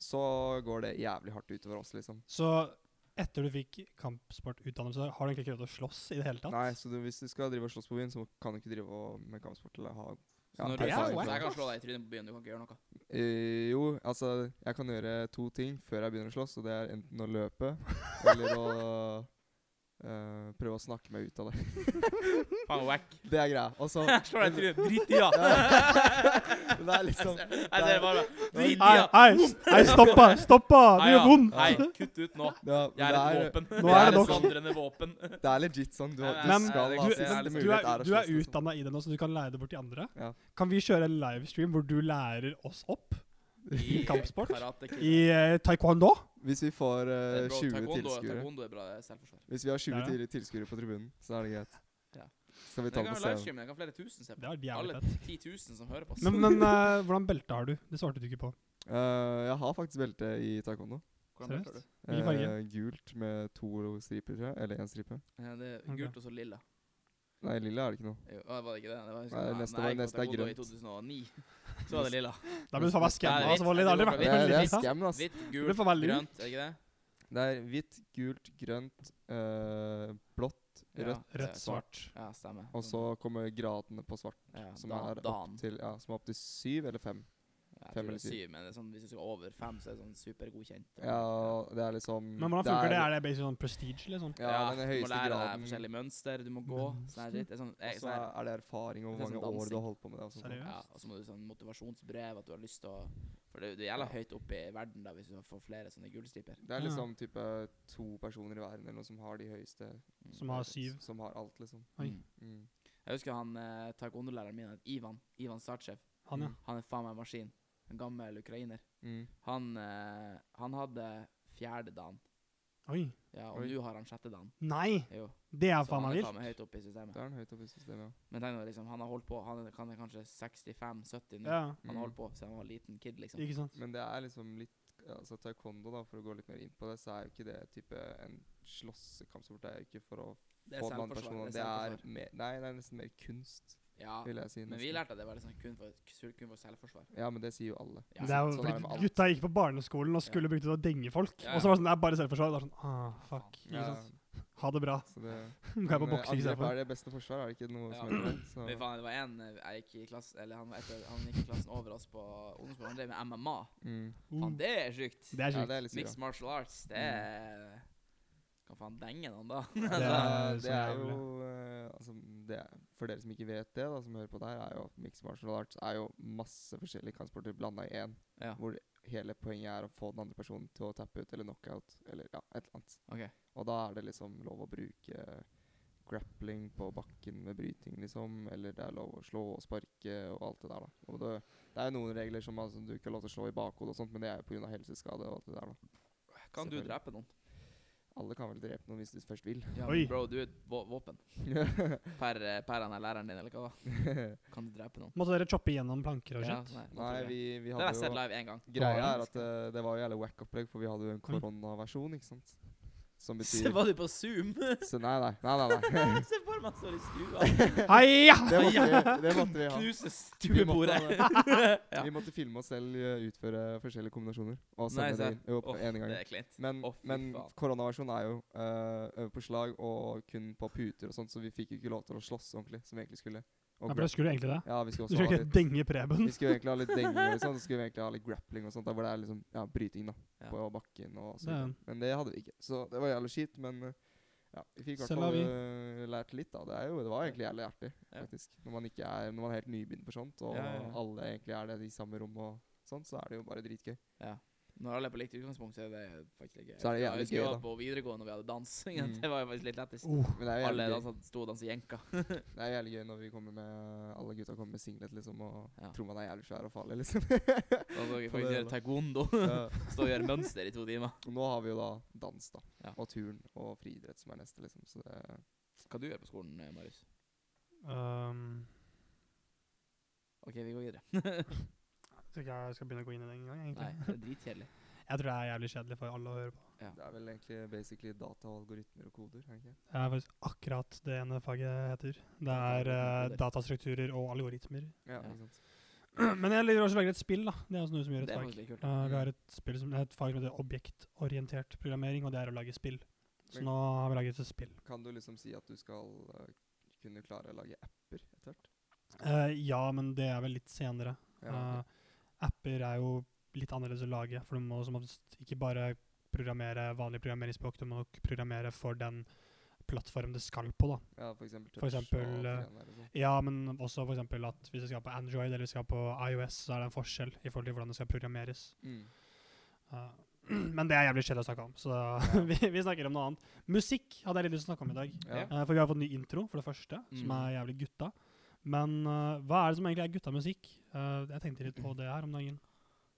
Speaker 4: så går det jævlig hardt utover oss, liksom.
Speaker 2: Så etter du fikk kampsportutdannelse, har du egentlig ikke prøvd å slåss i det hele tatt?
Speaker 4: Nei, så du, hvis du skal drive og slåss på byen, så kan du ikke drive og- med kampsport eller ha
Speaker 3: Så når
Speaker 2: det
Speaker 3: du,
Speaker 2: er
Speaker 3: så
Speaker 2: wack,
Speaker 3: jeg kan
Speaker 2: ass.
Speaker 3: slå deg i trynet på byen, du kan ikke gjøre noe.
Speaker 4: Eh, jo, altså jeg kan gjøre to ting før jeg begynner å slåss, og det er enten å løpe eller å eh, prøve å snakke meg ut av det.
Speaker 3: Faen, wack.
Speaker 4: Det er greia. Og så
Speaker 3: Jeg slår deg i trynet. Drit i, ja.
Speaker 4: Men det er liksom-
Speaker 3: Jeg ser det bare. Drit i,
Speaker 2: Hei,
Speaker 3: ja.
Speaker 2: hei, s- hei, stoppa! Stoppa! Det
Speaker 3: Hei, ja.
Speaker 2: gjør vondt!
Speaker 3: Hei, kutt ut nå.
Speaker 4: ja, men
Speaker 3: Jeg er et
Speaker 4: det, er,
Speaker 3: våpen.
Speaker 2: Nå
Speaker 3: Jeg
Speaker 2: er det
Speaker 3: et
Speaker 2: nok.
Speaker 3: vandrende våpen.
Speaker 4: det er legit sånn. Du, har- du
Speaker 2: Men
Speaker 4: skal
Speaker 3: du-
Speaker 4: ha
Speaker 3: men
Speaker 4: siste
Speaker 3: du
Speaker 2: Du
Speaker 4: mulighet
Speaker 2: er,
Speaker 4: er å
Speaker 2: du er
Speaker 4: slåss, liksom.
Speaker 2: utdanna i det nå, så du kan lære det bort til andre.
Speaker 4: Ja.
Speaker 2: Kan vi kjøre en livestream hvor du lærer oss opp
Speaker 3: I
Speaker 2: Kampsport?
Speaker 3: Karate Kid.
Speaker 2: i eh, taekwondo?
Speaker 4: Hvis vi får
Speaker 3: Det
Speaker 4: eh,
Speaker 3: er bra.
Speaker 4: 20
Speaker 3: Taekwondo-
Speaker 4: tilskuere
Speaker 3: Taekwondo er bra det er selvforsvar.
Speaker 4: Hvis vi har 20
Speaker 2: Ja, ja.
Speaker 4: til- tilskuere på tribunen, så er det greit.
Speaker 3: Ja.
Speaker 4: Skal vi
Speaker 3: Men
Speaker 4: ta
Speaker 3: Jeg kan
Speaker 4: det på
Speaker 3: ha
Speaker 4: scenen?
Speaker 3: livestream, jeg kan ha flere tusen se på.
Speaker 2: Det er jævlig
Speaker 3: Alle
Speaker 2: fett.
Speaker 3: 10 000 som hører på oss.
Speaker 2: Men, men eh, hvordan belte har du? Det svarte du ikke på.
Speaker 4: Eh, jeg har faktisk belte i taekwondo.
Speaker 3: Hvordan
Speaker 2: seriøst?
Speaker 3: føler du?
Speaker 2: Hvilken farge?
Speaker 4: Eh, gult med to striper, tror jeg. Eller én stripe.
Speaker 3: Ja, det er
Speaker 2: Ok.
Speaker 3: gult og så lilla.
Speaker 4: Nei, lilla er det ikke noe.
Speaker 3: Jo, å, var det ikke det? det var,
Speaker 4: Nei,
Speaker 3: da-
Speaker 4: neste
Speaker 3: da
Speaker 4: var-
Speaker 3: jeg gikk på
Speaker 4: neste er
Speaker 3: Taekwondo
Speaker 4: grønt.
Speaker 3: I 2009 så var det lilla.
Speaker 2: Da ble du faen meg
Speaker 3: Nei,
Speaker 2: skamma.
Speaker 3: det er
Speaker 2: Altså, Wally, det har aldri
Speaker 3: hvitt.
Speaker 2: vært
Speaker 4: Det
Speaker 2: med
Speaker 4: er, det er
Speaker 2: lilla.
Speaker 4: scam, ass.
Speaker 3: Hvitt, gult,
Speaker 2: for veldig
Speaker 3: grønt, er det ikke det?
Speaker 4: Det er hvitt, gult, grønt, eh, blått, rødt,
Speaker 3: Ja,
Speaker 2: Rødt, svart.
Speaker 3: Ja, stemmer. Sånn,
Speaker 4: og så kommer gradene på svart,
Speaker 3: ja,
Speaker 4: som
Speaker 3: da,
Speaker 4: er
Speaker 3: Dan.
Speaker 4: opp til, ja, som er opp til syv eller fem.
Speaker 3: Ja, jeg
Speaker 4: fem
Speaker 3: tror det er
Speaker 4: eller syv.
Speaker 3: syv, men det er sånn, hvis du skal over fem, så er det sånn supergodkjent.
Speaker 4: Ja, det er liksom
Speaker 2: Men hvordan funker det? Er det basically sånn prestige, liksom?
Speaker 4: Ja, den
Speaker 3: du må
Speaker 4: høyeste
Speaker 3: lære deg
Speaker 4: graden. Mm.
Speaker 3: forskjellige mønster, du må gå sånn her
Speaker 2: Mønster.
Speaker 3: dritt. Det er sånn, jeg,
Speaker 4: Og så
Speaker 3: sånn her,
Speaker 4: er det erfaring og
Speaker 3: Det er
Speaker 4: hvor mange
Speaker 3: sånn
Speaker 4: år du
Speaker 3: dansing.
Speaker 4: har holdt på med det. altså. Og sånt.
Speaker 2: Seriøst?
Speaker 3: ja, og så må du sånn motivasjonsbrev, at du har lyst til å For det, det gjelder høyt oppe i verden da, hvis du får flere sånne gullstriper.
Speaker 4: Det er
Speaker 2: Ja.
Speaker 4: liksom type to personer i verden eller noe som har de høyeste
Speaker 2: Mm. Som har syv.
Speaker 4: Som har alt, liksom.
Speaker 2: Oi.
Speaker 3: Mm.
Speaker 4: Mm.
Speaker 3: Jeg husker han eh, taekwondo-læreren min, han Ivan Ivan Sartsjev.
Speaker 2: Han, ja.
Speaker 3: Han er faen meg en maskin. En gammel ukrainer.
Speaker 4: Mm.
Speaker 3: Han, eh, han hadde fjerde dan,
Speaker 2: Oi.
Speaker 3: ja, og
Speaker 4: Oi.
Speaker 3: nå har han sjette dan.
Speaker 2: Nei!
Speaker 3: Jo.
Speaker 2: Det er
Speaker 3: så
Speaker 2: faen
Speaker 3: han
Speaker 2: meg
Speaker 3: er
Speaker 2: vilt.
Speaker 3: meg høyt oppe i systemet.
Speaker 4: Det er en høyt oppe i systemet, ja.
Speaker 3: Men tenk deg liksom, han har holdt på Han er, han er kanskje 65-70 nå.
Speaker 2: Ja,
Speaker 3: Han
Speaker 4: Mm.
Speaker 3: har holdt på siden han var liten kid, liksom.
Speaker 2: ikke sant.
Speaker 4: Men det er liksom litt Altså taekwondo, da, for å gå litt mer inn på det, så er jo ikke det type en slåssekampsport. Det er jo ikke for å
Speaker 3: Det
Speaker 4: få den andre personen Det er
Speaker 3: selvforsvar.
Speaker 4: mer Nei, det er nesten mer kunst,
Speaker 3: Ja,
Speaker 4: vil jeg si.
Speaker 3: men vi
Speaker 4: nesten.
Speaker 3: lærte at det var liksom kun for, kun for selvforsvar.
Speaker 4: Ja, men det sier jo alle.
Speaker 3: Ja,
Speaker 2: det er jo
Speaker 4: sånn er det med
Speaker 2: fordi
Speaker 4: alt.
Speaker 2: Gutta gikk på barneskolen og skulle bruke det til å denge folk.
Speaker 3: Ja, ja.
Speaker 2: Og så var det sånn, det er bare selvforsvar. Det er sånn, ah, fuck. Ikke
Speaker 4: Ja,
Speaker 2: sant? Ha det bra.
Speaker 4: så det
Speaker 2: Nå kan jeg på
Speaker 4: Men, eh,
Speaker 2: boksing
Speaker 4: angrep
Speaker 2: istedenfor.
Speaker 4: er det beste forsvar, er det ikke noe
Speaker 3: Ja.
Speaker 4: som heter det? Så
Speaker 3: Men faen, det var en eh, jeg gikk i klasse Eller han, var etter, han gikk i klassen over oss på ungdomsskolen. Han drev med MMA.
Speaker 4: mm.
Speaker 3: Faen, det er sjukt!
Speaker 2: Uh, Det er
Speaker 4: Ja,
Speaker 2: sjukt.
Speaker 4: det er litt sykt.
Speaker 3: Mixed martial arts, det er Kan faen denge noen, da.
Speaker 4: Ja,
Speaker 2: Det er
Speaker 4: det
Speaker 2: så
Speaker 4: er
Speaker 2: jævlig.
Speaker 4: jo eh, altså, det er, For dere som ikke vet det, da, som hører på der, er jo at mixed martial arts er jo masse forskjellige kampsporter blanda i én.
Speaker 3: Ja.
Speaker 4: Hvor hele poenget er å få den andre personen til å tappe ut eller knockout eller ja, et eller annet.
Speaker 3: Ok.
Speaker 4: Og da er det liksom lov å bruke grappling på bakken med bryting, liksom. Eller det er lov å slå og sparke og alt det der, da. Og det, det er jo noen regler som altså, du ikke har lov til å slå i bakhodet og sånt, men det er jo pga. helseskade og alt det der, da.
Speaker 3: Kan du
Speaker 4: Selvfølgelig.
Speaker 3: drepe noen?
Speaker 4: Alle kan vel drepe noen hvis de først vil.
Speaker 3: Ja,
Speaker 2: Oi.
Speaker 3: men bro, du er et vå- våpen. Per, eh, per han er læreren din, eller hva? Kan du drepe noen?
Speaker 2: Måtte dere choppe igjennom planker og
Speaker 3: Ja,
Speaker 2: shit?
Speaker 3: nei, nå tror
Speaker 4: Nei,
Speaker 3: jeg.
Speaker 4: vi, vi
Speaker 3: Det har
Speaker 4: hadde
Speaker 3: jeg
Speaker 4: jo
Speaker 3: sett live én gang.
Speaker 4: Greia
Speaker 2: Var
Speaker 4: er at eh, det var jo jævlig wack opplegg, for vi hadde jo en koronaversjon, ikke sant? Som betyr
Speaker 3: var du på Zoom?
Speaker 4: så Nei, nei. nei, nei, nei.
Speaker 3: Se for meg han står i stua.
Speaker 2: Heia!
Speaker 4: Det, måtte vi, det måtte vi ha.
Speaker 3: Knuser
Speaker 4: Vi måtte,
Speaker 3: stuebordet.
Speaker 4: ha det.
Speaker 3: Ja.
Speaker 4: vi måtte filme oss selv eh, utføre forskjellige kombinasjoner. Og
Speaker 3: Nei,
Speaker 4: sende det
Speaker 3: serr.
Speaker 4: inn. Jo, på
Speaker 3: Åh,
Speaker 4: ene
Speaker 3: Det
Speaker 4: gang.
Speaker 3: er kleint.
Speaker 4: Men,
Speaker 3: Å, fy
Speaker 4: men
Speaker 3: faen.
Speaker 4: koronaversjonen er jo eh, øve på slag og kun på puter og sånt, så vi fikk jo ikke lov til å slåss ordentlig, som vi egentlig skulle. Og
Speaker 2: Ja, for
Speaker 4: grap-
Speaker 2: jeg skulle egentlig det.
Speaker 4: ja, vi
Speaker 2: Du
Speaker 4: skulle også
Speaker 2: skulle
Speaker 4: ha
Speaker 2: ikke
Speaker 4: litt
Speaker 2: denge Preben.
Speaker 4: Vi skulle egentlig ha litt denging og sånn, så skulle vi egentlig ha litt grappling og sånt, da, hvor det er liksom, ja, bryting da,
Speaker 3: Ja.
Speaker 4: på bakken og så
Speaker 2: Det er-
Speaker 4: videre. Men det hadde vi ikke, så det var jævlig kjipt, men eh, ja, vi fikk i hvert
Speaker 2: Selv har
Speaker 4: fall
Speaker 2: vi.
Speaker 4: eh, lært litt da, det, er jo, det var egentlig jævlig hjertelig,
Speaker 3: Ja.
Speaker 4: faktisk. Når man, ikke er, når man er helt nybegynt på sånt,
Speaker 3: Ja,
Speaker 4: og
Speaker 3: ja, ja.
Speaker 4: alle egentlig er det i samme rom og sånt, så er det jo bare dritgøy.
Speaker 3: Når alle er på likt utgangspunkt, så er det faktisk litt gøy.
Speaker 4: Så er det
Speaker 3: Jeg
Speaker 4: jævlig
Speaker 3: husker
Speaker 4: gøy,
Speaker 3: jeg var
Speaker 4: da.
Speaker 3: På videregående når vi hadde dansing,
Speaker 4: Mm.
Speaker 3: det var jo faktisk litt lettest.
Speaker 2: Oh,
Speaker 4: Men det er jo
Speaker 3: Alle sånn.
Speaker 4: jævlig gøy,
Speaker 3: danset, sto og danset jenka.
Speaker 4: det er jævlig gøy når vi kommer med, alle gutta kommer med singlet liksom, og
Speaker 3: Ja.
Speaker 4: tror man er jævlig svær og farlig liksom.
Speaker 3: Da så vi
Speaker 4: På det
Speaker 3: faktisk
Speaker 4: hele.
Speaker 3: gjøre taekwondo.
Speaker 4: Ja.
Speaker 3: Stå og gjøre mønster i to timer.
Speaker 4: Og Nå har vi jo da dans da,
Speaker 3: Ja.
Speaker 4: og turn og friidrett som er neste liksom, så det
Speaker 3: Hva du gjør på skolen, eh, Marius?
Speaker 2: um,
Speaker 3: OK, vi går videre.
Speaker 2: tror ikke jeg skal begynne å gå inn i det engang,
Speaker 3: Nei,
Speaker 2: egentlig.
Speaker 3: det er dritkjedelig.
Speaker 2: Jeg tror det er jævlig kjedelig for alle å høre på.
Speaker 4: Det er vel egentlig basically data, og algoritmer og koder. er det ikke?
Speaker 2: Det er faktisk akkurat det ene faget heter. Det er eh, datastrukturer og algoritmer.
Speaker 4: Ja,
Speaker 3: Ja.
Speaker 4: ikke sant?
Speaker 2: Men jeg liker også å velge et spill, da. Det er også noe som gjør
Speaker 3: Det
Speaker 2: et
Speaker 3: er
Speaker 2: fag.
Speaker 3: faktisk litt kult.
Speaker 2: Ja, vi har et, spill som, det er et fag som heter objektorientert programmering, og det er å lage spill. Så
Speaker 4: Men-
Speaker 2: nå har vi laget et spill.
Speaker 4: Kan du liksom si at du skal eh, kunne klare å lage apper etter hvert?
Speaker 2: Eh, ja, men det er vel litt senere.
Speaker 4: Ja, ok.
Speaker 2: Eh, apper er jo litt annerledes å lage, for du må som oftest ikke bare programmere vanlig programmeringsspråk, du må nok programmere for den plattform det skal på, da.
Speaker 4: ja for eksempel
Speaker 2: for eksempel, eh,
Speaker 4: greiene der og sånn.
Speaker 2: Ja, men også for eksempel at hvis det skal på Android eller det skal på iOS, så er det en forskjell i forhold til hvordan det skal programmeres.
Speaker 4: Mm.
Speaker 2: Eh, men det er jævlig kjedelig å snakke om, så vi, vi snakker om noe annet. Musikk hadde jeg litt lyst til å snakke om i dag.
Speaker 4: Ja.
Speaker 2: Eh, for vi har fått ny intro, for det første, som
Speaker 3: Mm.
Speaker 2: er jævlig gutta. Men eh, hva er det som egentlig er guttamusikk? Eh, jeg tenkte litt på det her om dagen.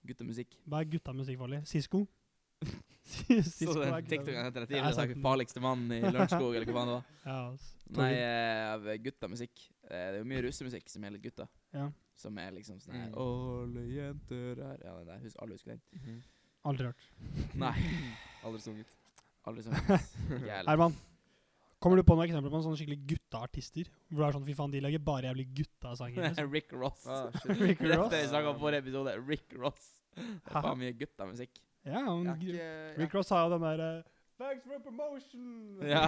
Speaker 3: Guttemusikk.
Speaker 2: Hva er guttamusikk for deg? Sisko?
Speaker 3: Så
Speaker 2: Sisko
Speaker 3: den
Speaker 2: er
Speaker 3: TikToken
Speaker 2: guttamusikk.
Speaker 3: heter det
Speaker 2: Ja, jeg
Speaker 3: tidligere.
Speaker 2: sa
Speaker 3: den
Speaker 2: den.
Speaker 3: Farligste mannen i Lørenskog, eller hva faen det var.
Speaker 2: Ja, altså.
Speaker 3: Nei,
Speaker 2: Torgrim.
Speaker 3: eh, av guttamusikk. Eh, Det er jo mye russemusikk som er litt gutta.
Speaker 2: Ja.
Speaker 3: Som er liksom sånn her
Speaker 4: Mm.
Speaker 3: Alle jenter er Ja, den der. Husk, alle husker den.
Speaker 4: Mhm.
Speaker 2: Aldri hørt.
Speaker 3: Nei.
Speaker 4: Aldri sunget.
Speaker 3: Aldri sånn. Ikke jeg heller.
Speaker 2: Herman, kommer du på noen eksempler på noen sånne skikkelig gutta-artister? Hvor det er sånn, fy faen, de lager bare jævlig gutta-sanger. liksom?
Speaker 3: Rick Ross.
Speaker 4: Ah, shit.
Speaker 2: Rick
Speaker 3: Dette
Speaker 2: Ross?
Speaker 3: er snakka om forrige episode. Rick Ross. Det er faen mye guttamusikk.
Speaker 2: Ja,
Speaker 4: Jeg
Speaker 2: men
Speaker 4: er ikke- jeg er
Speaker 2: Rick Ross har jo den eh, derre Thanks for promotion!
Speaker 3: Ja.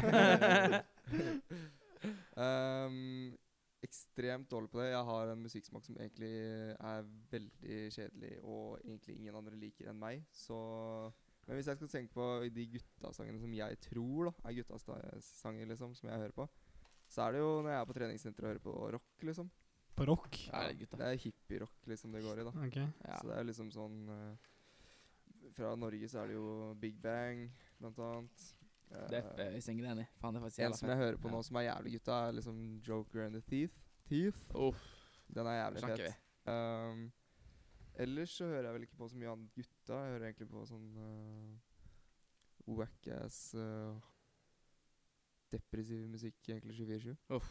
Speaker 4: Ehm, ekstremt dårlig på det. Jeg har en musikksmak som egentlig er veldig kjedelig, og egentlig ingen andre liker enn meg. Så Men hvis jeg skal tenke på de guttasangene som jeg tror da er guttasanger, liksom, som jeg hører på, så er det jo når jeg er på treningssenteret og hører på rock, liksom.
Speaker 2: På rock?
Speaker 3: Ja, det er gutta.
Speaker 4: Det er hippierock liksom det går i, da.
Speaker 2: Ok.
Speaker 3: Ja.
Speaker 4: Så det er liksom sånn eh, Fra Norge så er det jo Big Bang, blant annet.
Speaker 3: Det
Speaker 4: Eh,
Speaker 3: er Øystein Greni. Faen, det er faktisk
Speaker 4: en
Speaker 3: jævla
Speaker 4: som jeg hører på
Speaker 3: Ja.
Speaker 4: nå som er jævlig gutta, er liksom Joker and the Thief. Thief.
Speaker 3: Uff,
Speaker 4: Den er jævlig
Speaker 3: snakker vi.
Speaker 4: fet. Um, ellers så hører jeg vel ikke på så mye annet gutta. Jeg hører egentlig på sånn uh, wackass uh, depressiv musikk, egentlig 24-7.
Speaker 3: Uff.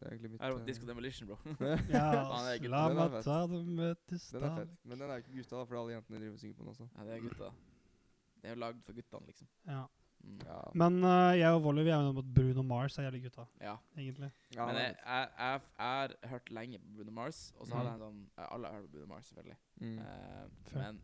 Speaker 4: Det er egentlig mitt
Speaker 3: Jeg har hørt
Speaker 4: uh,
Speaker 3: Disco Demolition, bro.
Speaker 2: Ja, altså,
Speaker 3: Faen, det er gutta.
Speaker 2: la
Speaker 4: Den er
Speaker 2: meg
Speaker 4: fett.
Speaker 2: ta dem ut i
Speaker 4: Den er
Speaker 2: stad.
Speaker 4: fett. Men den er jo ikke gutta, da, for alle jentene driver og synger på den også.
Speaker 3: Ja, det er gutta. Det er jo lagd for guttene, liksom.
Speaker 2: Ja.
Speaker 3: Mm.
Speaker 4: Ja.
Speaker 2: Men eh, jeg og Volley vi er jo mot Bruno Mars er jævlig gutta,
Speaker 3: Ja.
Speaker 2: egentlig.
Speaker 4: ja,
Speaker 3: Men
Speaker 4: den
Speaker 3: jeg,
Speaker 4: er fett.
Speaker 3: jeg, jeg, jeg har hørt lenge på Bruno Mars, og så har
Speaker 4: Mhm.
Speaker 3: jeg en sånn eh, Alle har hørt på Bruno Mars, selvfølgelig.
Speaker 4: Mm.
Speaker 3: Eh,
Speaker 2: Fair.
Speaker 3: men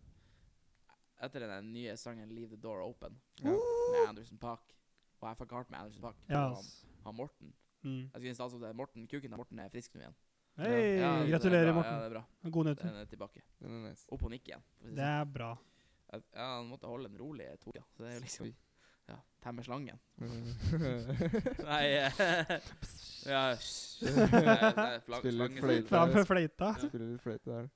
Speaker 3: etter den der nye sangen 'Leave the Door Open'
Speaker 4: Ja.
Speaker 3: med Anderson Park Og jeg fikk hardt med Anderson Park.
Speaker 2: Ja,
Speaker 3: Han,
Speaker 2: ass.
Speaker 3: han Morten.
Speaker 2: Mm.
Speaker 3: Jeg skulle innstille som det er Morten Kuken til Morten er frisk nå igjen.
Speaker 2: Hei,
Speaker 3: Ja, det er
Speaker 2: gratulerer,
Speaker 3: bra, Ja,
Speaker 2: Morten.
Speaker 3: det er bra.
Speaker 2: God nytt.
Speaker 3: Den er tilbake.
Speaker 4: Den er nice.
Speaker 3: Opp og nikke igjen. for å si det
Speaker 2: Det er bra.
Speaker 3: sånn. Jeg- Ja, han måtte holde en rolig to uker. Så det er jo liksom
Speaker 4: Oi.
Speaker 3: Ja, temme slangen.
Speaker 4: Spiller
Speaker 3: Nei eh, Ja sj- eh, nei, flang-
Speaker 4: Spiller
Speaker 3: slangen-
Speaker 4: fløyte.
Speaker 2: Fram med fløyta.
Speaker 4: litt fløyte der.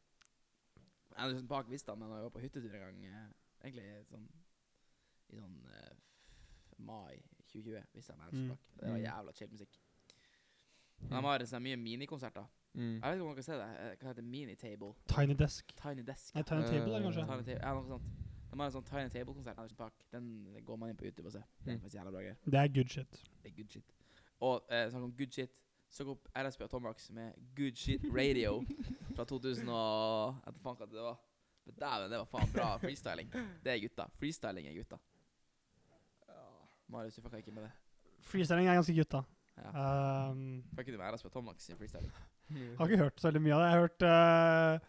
Speaker 3: Andersen Park visste han, sånn men han var på hyttetur en gang. eh, Egentlig sånn i sånn eh, mai 2020 visste han med Andersen
Speaker 2: Mm.
Speaker 3: Park. Det var
Speaker 4: Mm.
Speaker 3: jævla chill musikk. Men han har sånne mye minikonserter.
Speaker 4: Mm.
Speaker 3: Jeg vet ikke om dere ser det. eh, Hva heter det? Minitable?
Speaker 2: Tiny Desk.
Speaker 3: Tiny Desk?
Speaker 2: Nei, Tiny Table der, kanskje?
Speaker 3: Tiny Table, ja,
Speaker 4: Eh,
Speaker 3: noe sånt. De har en sånn Tiny Table-konsert. Andersen Park. Den går man inn på YouTube og ser. Det er
Speaker 4: Mm.
Speaker 3: faktisk jævla bra greier.
Speaker 2: Det er good shit.
Speaker 3: Det er good shit. Og eh, snakk om good shit. Søk opp RSB og Tomax med Good Shit Radio fra 2000 og Jeg vet faen hva det var. Men dæven, det var faen bra freestyling. Det er gutta. Freestyling er gutta. Marius, du fucka ikke med det.
Speaker 2: Freestyling er ganske gutta.
Speaker 3: Ja.
Speaker 2: Um,
Speaker 3: Fucka du med RSB og Tomax sin freestyling?
Speaker 4: Mm.
Speaker 2: har ikke hørt så veldig mye av det. Jeg har hørt eh,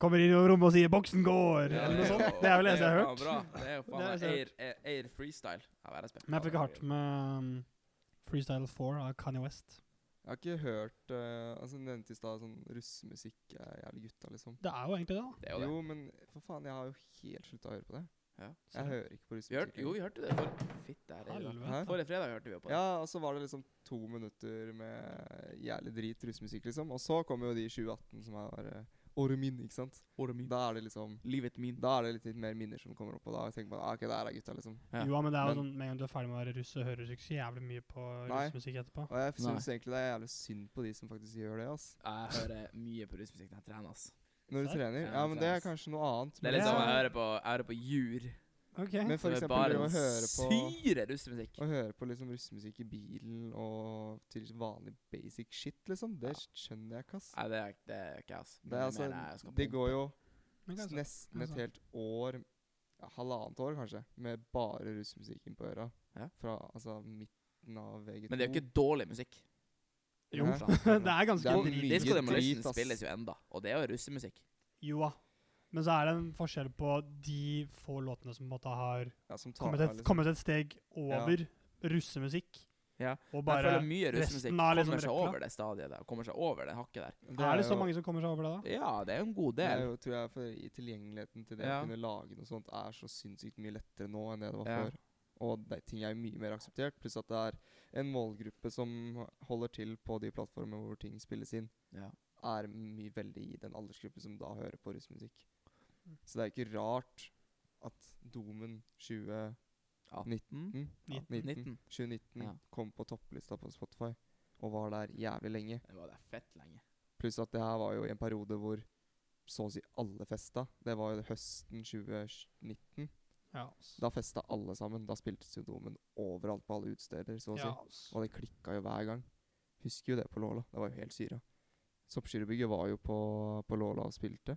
Speaker 2: Kommer inn i rommet og sier 'boksen går', eller noe sånt. Det er vel det eneste jeg har hørt.
Speaker 3: Det er jo faen bra. Det er jo
Speaker 2: Det er det
Speaker 3: faen meg
Speaker 2: jeg
Speaker 3: Air, Air, Air Freestyle av RSB.
Speaker 2: Men jeg fikk hardt med um, Freestyle 4 av Kanye West.
Speaker 4: Jeg har ikke hørt eh, Altså, du nevnte i stad sånn russemusikk er jævlig gutta, liksom.
Speaker 2: Det er jo egentlig det, da.
Speaker 3: Det er
Speaker 4: Jo,
Speaker 3: jo det. Sånn,
Speaker 4: men for faen, jeg har jo helt slutta å høre på det.
Speaker 3: Ja.
Speaker 4: Jeg hører ikke på
Speaker 3: Vi hørte,
Speaker 4: russemusikk.
Speaker 3: jo, vi hørte det for Fitte her. i dag.
Speaker 2: Helvete.
Speaker 4: Hæ?
Speaker 3: Forrige fredag hørte vi jo på det.
Speaker 4: Ja, og så var det liksom to minutter med jævlig drit russemusikk, liksom. Og så kommer jo de 2018 som er eh, året min, ikke sant.
Speaker 3: Ordet mitt.
Speaker 4: Da er det liksom
Speaker 3: Livet mitt.
Speaker 4: Da er det litt, litt mer minner som kommer opp, og da tenker man ah, ok, der er gutta, liksom.
Speaker 3: Ja.
Speaker 2: Jo, men det er jo
Speaker 4: Men-
Speaker 2: sånn, med en gang du er ferdig med å være russ, så hører du ikke så jævlig mye på
Speaker 4: Nei.
Speaker 2: russmusikk etterpå.
Speaker 4: Og jeg
Speaker 3: Nei.
Speaker 4: syns egentlig det er jævlig synd på de som faktisk gjør det, ass.
Speaker 3: Jeg hører mye på rusmusikk når jeg trener. ass.
Speaker 4: Når du
Speaker 2: Serr?
Speaker 4: trener.
Speaker 3: Ja,
Speaker 4: Ja, men det er
Speaker 3: trener.
Speaker 4: kanskje noe annet.
Speaker 3: Det er
Speaker 4: men-
Speaker 3: litt som
Speaker 2: Ja.
Speaker 3: jeg hører på, jeg hører på jur.
Speaker 2: Ok.
Speaker 4: Men
Speaker 3: Så
Speaker 4: for
Speaker 3: det er
Speaker 4: eksempel
Speaker 3: bare
Speaker 4: det å
Speaker 3: en
Speaker 4: høre på
Speaker 3: syre russemusikk.
Speaker 4: Å høre på liksom russemusikk i bilen og til vanlig basic shit, liksom, det skjønner jeg ikke, ass.
Speaker 3: Nei, det er det er ikke jeg, ass. Men
Speaker 4: Det, er
Speaker 3: jeg mener jeg
Speaker 4: altså,
Speaker 3: skal
Speaker 4: det
Speaker 3: pumpe.
Speaker 4: går jo
Speaker 2: Men
Speaker 4: s-
Speaker 2: kanskje-
Speaker 4: nesten et
Speaker 2: altså.
Speaker 4: helt år, ja, halvannet år kanskje, med bare russemusikken på øra.
Speaker 3: Ja.
Speaker 4: Fra altså midten av VG2.
Speaker 3: Men det er jo ikke dårlig musikk.
Speaker 2: Jo,
Speaker 4: Hæ?
Speaker 2: det er
Speaker 4: Det
Speaker 2: ganske
Speaker 4: er
Speaker 2: drit.
Speaker 4: mye
Speaker 3: Disco Demolition
Speaker 4: drit, ass.
Speaker 3: spilles jo enda, og det er jo russemusikk.
Speaker 2: Jo da. Men så er det en forskjell på de få låtene som på en måte har
Speaker 4: Ja, som tar
Speaker 2: kommet
Speaker 4: av,
Speaker 2: et,
Speaker 4: liksom.
Speaker 2: kommet et steg over russemusikk.
Speaker 3: Ja,
Speaker 2: Og
Speaker 3: Men jeg
Speaker 2: bare
Speaker 3: føler mye russemusikk
Speaker 2: resten av
Speaker 3: kommer
Speaker 2: liksom
Speaker 3: seg
Speaker 2: rekla.
Speaker 3: over det stadiet der. Kommer seg over det hakket der.
Speaker 2: Er det så
Speaker 4: jo-
Speaker 2: mange som kommer seg over det, da?
Speaker 3: Ja, det er jo en god
Speaker 4: Det er
Speaker 3: del.
Speaker 4: jo, tror jeg, for i tilgjengeligheten til det
Speaker 3: Ja.
Speaker 4: å kunne lage noe sånt er så sinnssykt mye lettere nå enn det det var
Speaker 3: Ja.
Speaker 4: før. Og det, ting er jo mye mer akseptert. Pluss at det er en målgruppe som holder til på de plattformene hvor ting spilles inn,
Speaker 3: Ja.
Speaker 4: er mye veldig i den aldersgruppen som da hører på russmusikk. Så det er ikke rart at Domen 2019
Speaker 3: 18?
Speaker 4: 19,
Speaker 3: 19.
Speaker 4: 2019
Speaker 3: Ja.
Speaker 4: kom på topplista på Spotify og var der jævlig lenge.
Speaker 3: Det var der fett lenge.
Speaker 4: Pluss at det her var jo i en periode hvor så å si alle festa. Det var jo høsten 2019.
Speaker 2: Ja.
Speaker 4: Da festa alle sammen. Da spiltes jo Domen overalt på alle utesteder, så å si.
Speaker 2: Ja, ass.
Speaker 4: Og det klikka jo hver gang. Husker jo det på Låla. Det var jo helt syra. Soppskyrebygget var jo på, på Låla og spilte.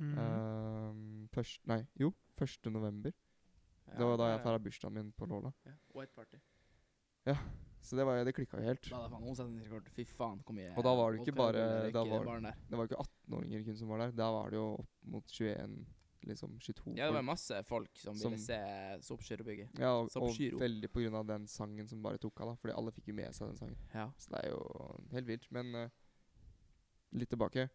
Speaker 2: Mhm.
Speaker 4: Ehm, først, nei, jo, 1. november.
Speaker 3: Ja,
Speaker 4: det var da
Speaker 3: ja,
Speaker 4: jeg
Speaker 3: ja.
Speaker 4: feira bursdagen min på Låla.
Speaker 3: Ja, White Party.
Speaker 4: Så det, var, jo- det klikka jo helt.
Speaker 3: Da hadde jeg faen omsetningsrekord. Fy faen, hvor mye
Speaker 4: Og da var det ikke
Speaker 3: vodka-ruller
Speaker 4: bare-
Speaker 3: jeg
Speaker 4: da
Speaker 3: røyker i
Speaker 4: var-
Speaker 3: baren der.
Speaker 4: Det var jo ikke 18-åringer kun som var der. Der var det jo opp mot 21, liksom 22
Speaker 3: Ja, det var
Speaker 4: folk.
Speaker 3: masse folk som,
Speaker 4: Som-
Speaker 3: ville se Soppskyrebygget.
Speaker 4: Ja, og,
Speaker 3: Som
Speaker 4: og
Speaker 3: Shiro.
Speaker 4: veldig på grunn av den sangen som bare tok av, da. Fordi alle fikk jo med seg den sangen.
Speaker 3: Ja.
Speaker 4: Så det er jo helt vilt. Men eh, litt tilbake.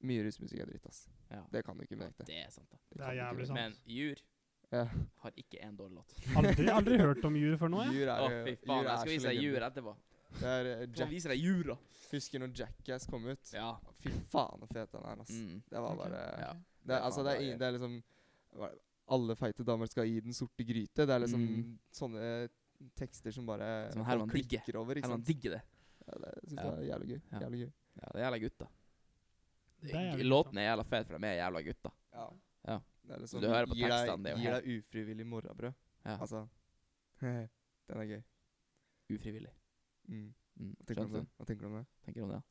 Speaker 4: Mye russmusikk er dritt, ass.
Speaker 3: ja.
Speaker 4: Det kan du ikke benekte.
Speaker 3: Det er sant, da.
Speaker 2: Det er
Speaker 4: kan du ikke
Speaker 2: jævlig
Speaker 4: benekte.
Speaker 2: sant.
Speaker 3: Men Jur
Speaker 4: Ja.
Speaker 3: har ikke én dårlig låt.
Speaker 2: Aldri, aldri hørt om jur før nå, jeg.
Speaker 4: Jur
Speaker 3: Å,
Speaker 4: er, jo-
Speaker 3: fy faen.
Speaker 4: Jur
Speaker 3: Jeg
Speaker 4: er
Speaker 3: skal
Speaker 4: så
Speaker 3: vise deg
Speaker 4: legende.
Speaker 3: Jur etterpå.
Speaker 4: Det er eh,
Speaker 3: Jeg skal
Speaker 4: Jack,
Speaker 3: vise deg Jur, da.
Speaker 4: husker når Jackass kom ut.
Speaker 3: Ja.
Speaker 4: Fy faen så fet den er, ass.
Speaker 3: Mm.
Speaker 4: Det var
Speaker 2: Ok.
Speaker 4: bare
Speaker 3: Ja.
Speaker 4: det, er, altså, det, er, ingen- det er liksom hva- Alle feite damer skal i den sorte gryte. Det er liksom
Speaker 3: Mm.
Speaker 4: sånne tekster som bare
Speaker 3: Som
Speaker 4: folk
Speaker 3: Herman Digge.
Speaker 4: klikker over. Ikke
Speaker 3: Eller han
Speaker 4: sant?
Speaker 3: digger det.
Speaker 4: Ja, det syns
Speaker 3: Ja.
Speaker 4: jeg er jævlig gøy.
Speaker 3: Ja.
Speaker 4: Jævlig gøy.
Speaker 3: Ja, det er jævla gutta.
Speaker 2: Det er jævla
Speaker 3: Låten er jævla fet, for de er jævla gutta.
Speaker 4: Ja.
Speaker 3: Ja.
Speaker 4: Det er liksom,
Speaker 3: du hører på
Speaker 4: gir deg,
Speaker 3: tekstene, det er jo
Speaker 4: Gir deg ufrivillig morrabrød.
Speaker 3: Ja.
Speaker 4: Altså Den er gøy.
Speaker 3: Ufrivillig.
Speaker 4: Mm.
Speaker 3: Mm.
Speaker 4: Hva tenker du om
Speaker 3: skjønte
Speaker 4: det? Hva tenker du om det?
Speaker 3: Tenker du om det, ja.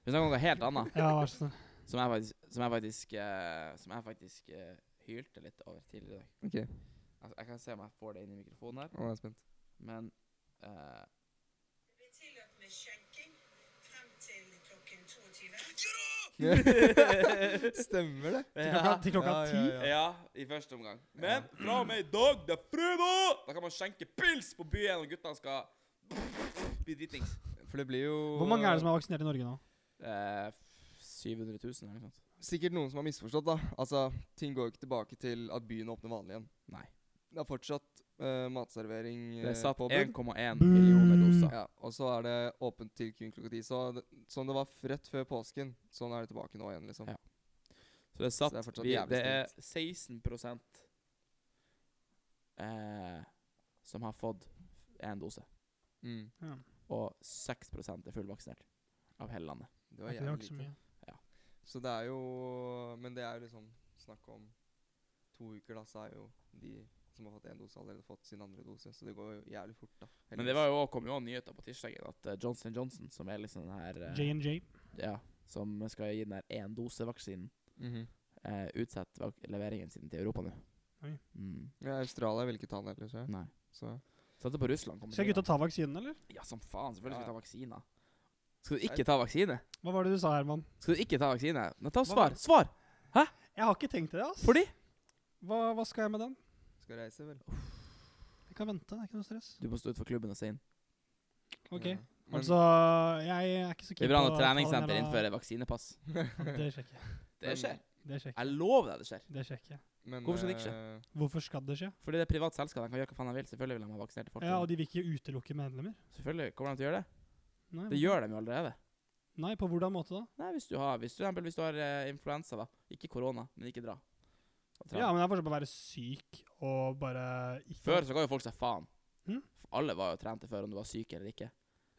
Speaker 3: Vi snakker om noe helt annet.
Speaker 2: Ja, vær så snill.
Speaker 3: Som jeg faktisk, som jeg faktisk, eh, som jeg faktisk eh, hylte litt over tidligere i dag.
Speaker 4: OK,
Speaker 3: Altså, jeg kan se om jeg får det inn i mikrofonen her,
Speaker 4: nå er jeg spent.
Speaker 3: men eh,
Speaker 5: Det blir tillatt med skjenking frem til klokken 22.
Speaker 4: Stemmer det?
Speaker 2: Til klokka, til klokka
Speaker 4: Ja, ja,
Speaker 2: ti?
Speaker 4: ja.
Speaker 3: Ja, i første omgang. Men fra og med i dag, det er fredag! Da kan man skjenke pils på byen, og guttene skal bli dritings.
Speaker 4: For det blir jo
Speaker 2: Hvor mange er det som er vaksinert i Norge nå?
Speaker 3: Eh, f- 700 000, eller noe sånt.
Speaker 4: Sikkert noen som har misforstått, da. Altså, Ting går jo ikke tilbake til at byen åpner vanlig igjen.
Speaker 3: Nei.
Speaker 4: Det er fortsatt eh, matservering
Speaker 3: Det
Speaker 4: eh,
Speaker 3: er satt
Speaker 4: påbud.
Speaker 3: 1,1 millioner doser.
Speaker 4: Ja, og så er det åpent til kun klokka ti. Så det, sånn det var f rett før påsken, sånn er det tilbake nå igjen, liksom.
Speaker 3: Ja. Så det er satt
Speaker 4: Så det er fortsatt
Speaker 3: vi,
Speaker 4: jævlig
Speaker 3: Det er 16 eh, som har fått én dose,
Speaker 4: Mm.
Speaker 2: Ja.
Speaker 3: og 6 er fullvaksinert av hele landet.
Speaker 4: Det var
Speaker 2: Det var
Speaker 4: jævlig
Speaker 2: ikke
Speaker 4: lite.
Speaker 2: så mye.
Speaker 4: Så det er jo Men det er jo liksom snakk om to uker, da, så er jo de som har fått én dose, allerede fått sin andre dose. Så det går jo jævlig fort, da.
Speaker 3: Men det var jo, kom jo også nyheter på tirsdagen at eh, Johnson Johnson, som er liksom den her eh,
Speaker 2: J&J.
Speaker 3: Ja, som skal gi den her én dose-vaksinen,
Speaker 4: Mhm.
Speaker 3: eh, utsetter vak- leveringen sin til Europa nå.
Speaker 2: Oi.
Speaker 3: Mm,
Speaker 4: Ja, Australia ville ikke ta den heller, så jeg.
Speaker 3: nei.
Speaker 4: Så
Speaker 3: Satte på Russland. kommer
Speaker 2: Skal
Speaker 3: til
Speaker 2: gutta ta vaksinen, eller?
Speaker 3: å- Ja, som faen. Selvfølgelig skal
Speaker 4: Ja.
Speaker 3: du ta vaksiner. Skal du ikke ta vaksine?
Speaker 2: Hva var det du sa, Herman?
Speaker 3: Skal du ikke ta vaksine? Nei, ta
Speaker 2: Hva-
Speaker 3: svar! Svar!
Speaker 2: Jeg har ikke tenkt til det, ass.
Speaker 3: Fordi
Speaker 2: Hva, hva skal jeg med den?
Speaker 4: skal reise, vel.
Speaker 2: Jeg kan vente, det er ikke noe stress.
Speaker 3: Du må stå utenfor klubben og se inn.
Speaker 2: Ok.
Speaker 4: Ja. Men-
Speaker 2: altså, jeg er ikke så
Speaker 3: Vi
Speaker 2: keen
Speaker 3: vil ha
Speaker 2: å
Speaker 3: noe
Speaker 2: ta den
Speaker 3: treningssenter
Speaker 2: jævla-
Speaker 3: innenfor vaksinepass.
Speaker 2: Ja, Det skjer ikke.
Speaker 3: Det
Speaker 4: Men-
Speaker 3: skjer.
Speaker 2: Det skjer ikke.
Speaker 3: Jeg lover deg det skjer.
Speaker 2: Det skjer ikke.
Speaker 4: men,
Speaker 3: Hvorfor skal det ikke
Speaker 4: eh,
Speaker 2: Hvorfor skal det skje?
Speaker 3: Fordi det er et privat selskap. De kan gjøre hva faen de vil. Selvfølgelig vil de ha vaksinerte folk.
Speaker 2: Ja, og de vil ikke utelukke medlemmer.
Speaker 3: Selvfølgelig kommer de til å gjøre det.
Speaker 2: Nei,
Speaker 3: Det gjør de jo allerede.
Speaker 2: Nei, på hvordan måte da?
Speaker 3: Nei, hvis du har, hvis du, for eksempel, hvis du har eh, influensa, da. Ikke korona, men ikke dra. Og dra.
Speaker 2: Ja, men det er forskjell på å være syk og bare ikke
Speaker 3: Før så ga jo folk seg faen.
Speaker 2: Mhm.
Speaker 3: Alle var jo trente før om du var syk eller ikke.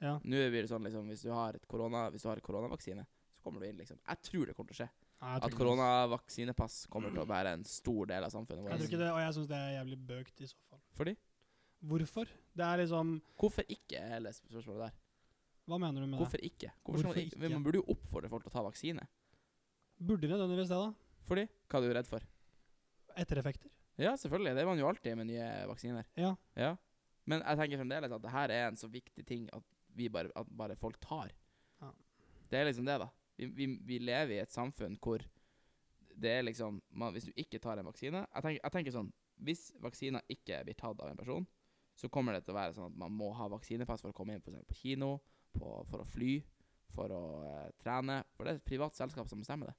Speaker 2: Ja.
Speaker 3: Nå blir det sånn liksom hvis du har et korona Hvis du har et koronavaksine, så kommer du inn, liksom. Jeg tror det kommer til å skje.
Speaker 2: Nei, jeg tror
Speaker 3: At
Speaker 2: ikke det, ass.
Speaker 3: koronavaksinepass kommer til å være en stor del av samfunnet
Speaker 2: Jeg tror
Speaker 3: vårt.
Speaker 2: ikke det, og jeg syns det er jævlig bøkt i så fall.
Speaker 3: Fordi
Speaker 2: Hvorfor? Det er liksom
Speaker 3: Hvorfor ikke, er hele spørsmålet der.
Speaker 2: Hva mener du med det?
Speaker 3: Hvorfor ikke? Hvorfor skal man,
Speaker 2: Hvorfor
Speaker 3: ikke? Men
Speaker 2: ikke?
Speaker 3: man burde jo oppfordre folk til å ta vaksine.
Speaker 2: Burde de nødvendigvis det, da?
Speaker 3: Fordi Hva er du redd for?
Speaker 2: Ettereffekter?
Speaker 3: Ja, selvfølgelig. Det er man jo alltid med nye vaksiner.
Speaker 2: Ja.
Speaker 3: Ja. Men jeg tenker fremdeles at det her er en så viktig ting at vi bare, at bare folk tar.
Speaker 2: Ja.
Speaker 3: Det er liksom det, da. Vi, vi, vi lever i et samfunn hvor det er liksom man, Hvis du ikke tar en vaksine Jeg tenker, jeg tenker sånn Hvis vaksiner ikke blir tatt av en person, så kommer det til å være sånn at man må ha vaksinepass for å komme inn for eksempel på kino, på, for å fly, for å eh, trene. For det er et privat selskap som bestemmer det.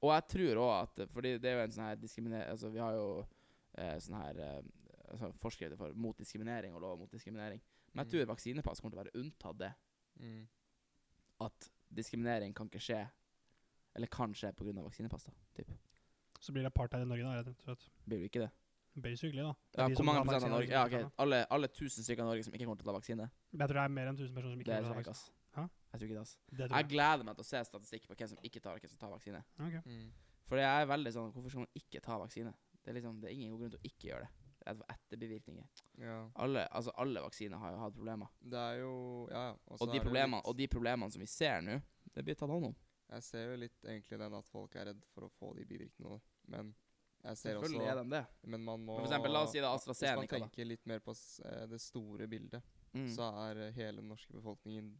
Speaker 3: Og jeg tror òg at Fordi det er jo en sånn her diskriminer... Altså, vi har jo eh, sånn her eh, altså, forskrifter for mot diskriminering og lov mot diskriminering. Men jeg tror vaksinepass kommer til å være unntatt det.
Speaker 4: Mm.
Speaker 3: At diskriminering kan ikke skje, eller kan skje pga. vaksinepass. da, typ.
Speaker 2: Så blir det apartheid i Norge, da, rett og slett.
Speaker 3: Blir det ikke det?
Speaker 2: Basically, da. Det er
Speaker 3: Ja,
Speaker 2: de
Speaker 3: hvor
Speaker 2: som
Speaker 3: mange
Speaker 2: tar
Speaker 3: prosent av
Speaker 2: vaksine,
Speaker 3: Norge?
Speaker 2: de
Speaker 3: Ja,
Speaker 2: som ikke tar
Speaker 3: ok. Alle, alle 1000 stykker av Norge som ikke kommer til å ta vaksine.
Speaker 2: det. Jeg tror det er mer enn 1000 personer som
Speaker 3: Det
Speaker 2: ikke tar
Speaker 3: tror jeg ikke,
Speaker 2: vaksine.
Speaker 3: ass.
Speaker 2: Hæ?
Speaker 3: Jeg tror ikke det, ass.
Speaker 2: Det tror
Speaker 3: Jeg
Speaker 2: jeg.
Speaker 3: gleder meg til å se statistikk på hvem som ikke tar, og hvem som tar vaksine.
Speaker 2: Ok.
Speaker 4: Mm.
Speaker 3: For jeg er veldig sånn Hvorfor skal man ikke ta vaksine? Det er liksom Det er ingen god grunn til å ikke gjøre det. Det er etterbivirkninger.
Speaker 4: Ja.
Speaker 3: Alle, altså alle vaksiner har jo hatt problemer.
Speaker 4: Det er jo Ja, ja. så
Speaker 3: Og de
Speaker 4: er det jo
Speaker 3: problemene,
Speaker 4: litt-
Speaker 3: og de problemene som vi ser nå, det blir tatt hånd om.
Speaker 4: Jeg ser jo litt egentlig den at folk er redd for å få de bivirkningene. Men jeg ser også
Speaker 3: Selvfølgelig er de det.
Speaker 4: Men man må
Speaker 3: Men for eksempel, la oss si da
Speaker 4: Hvis
Speaker 3: AstraZeneca,
Speaker 4: man
Speaker 3: da.
Speaker 4: tenker litt mer på s- eh, det store bildet,
Speaker 3: Mm.
Speaker 4: så er eh, hele den norske befolkningen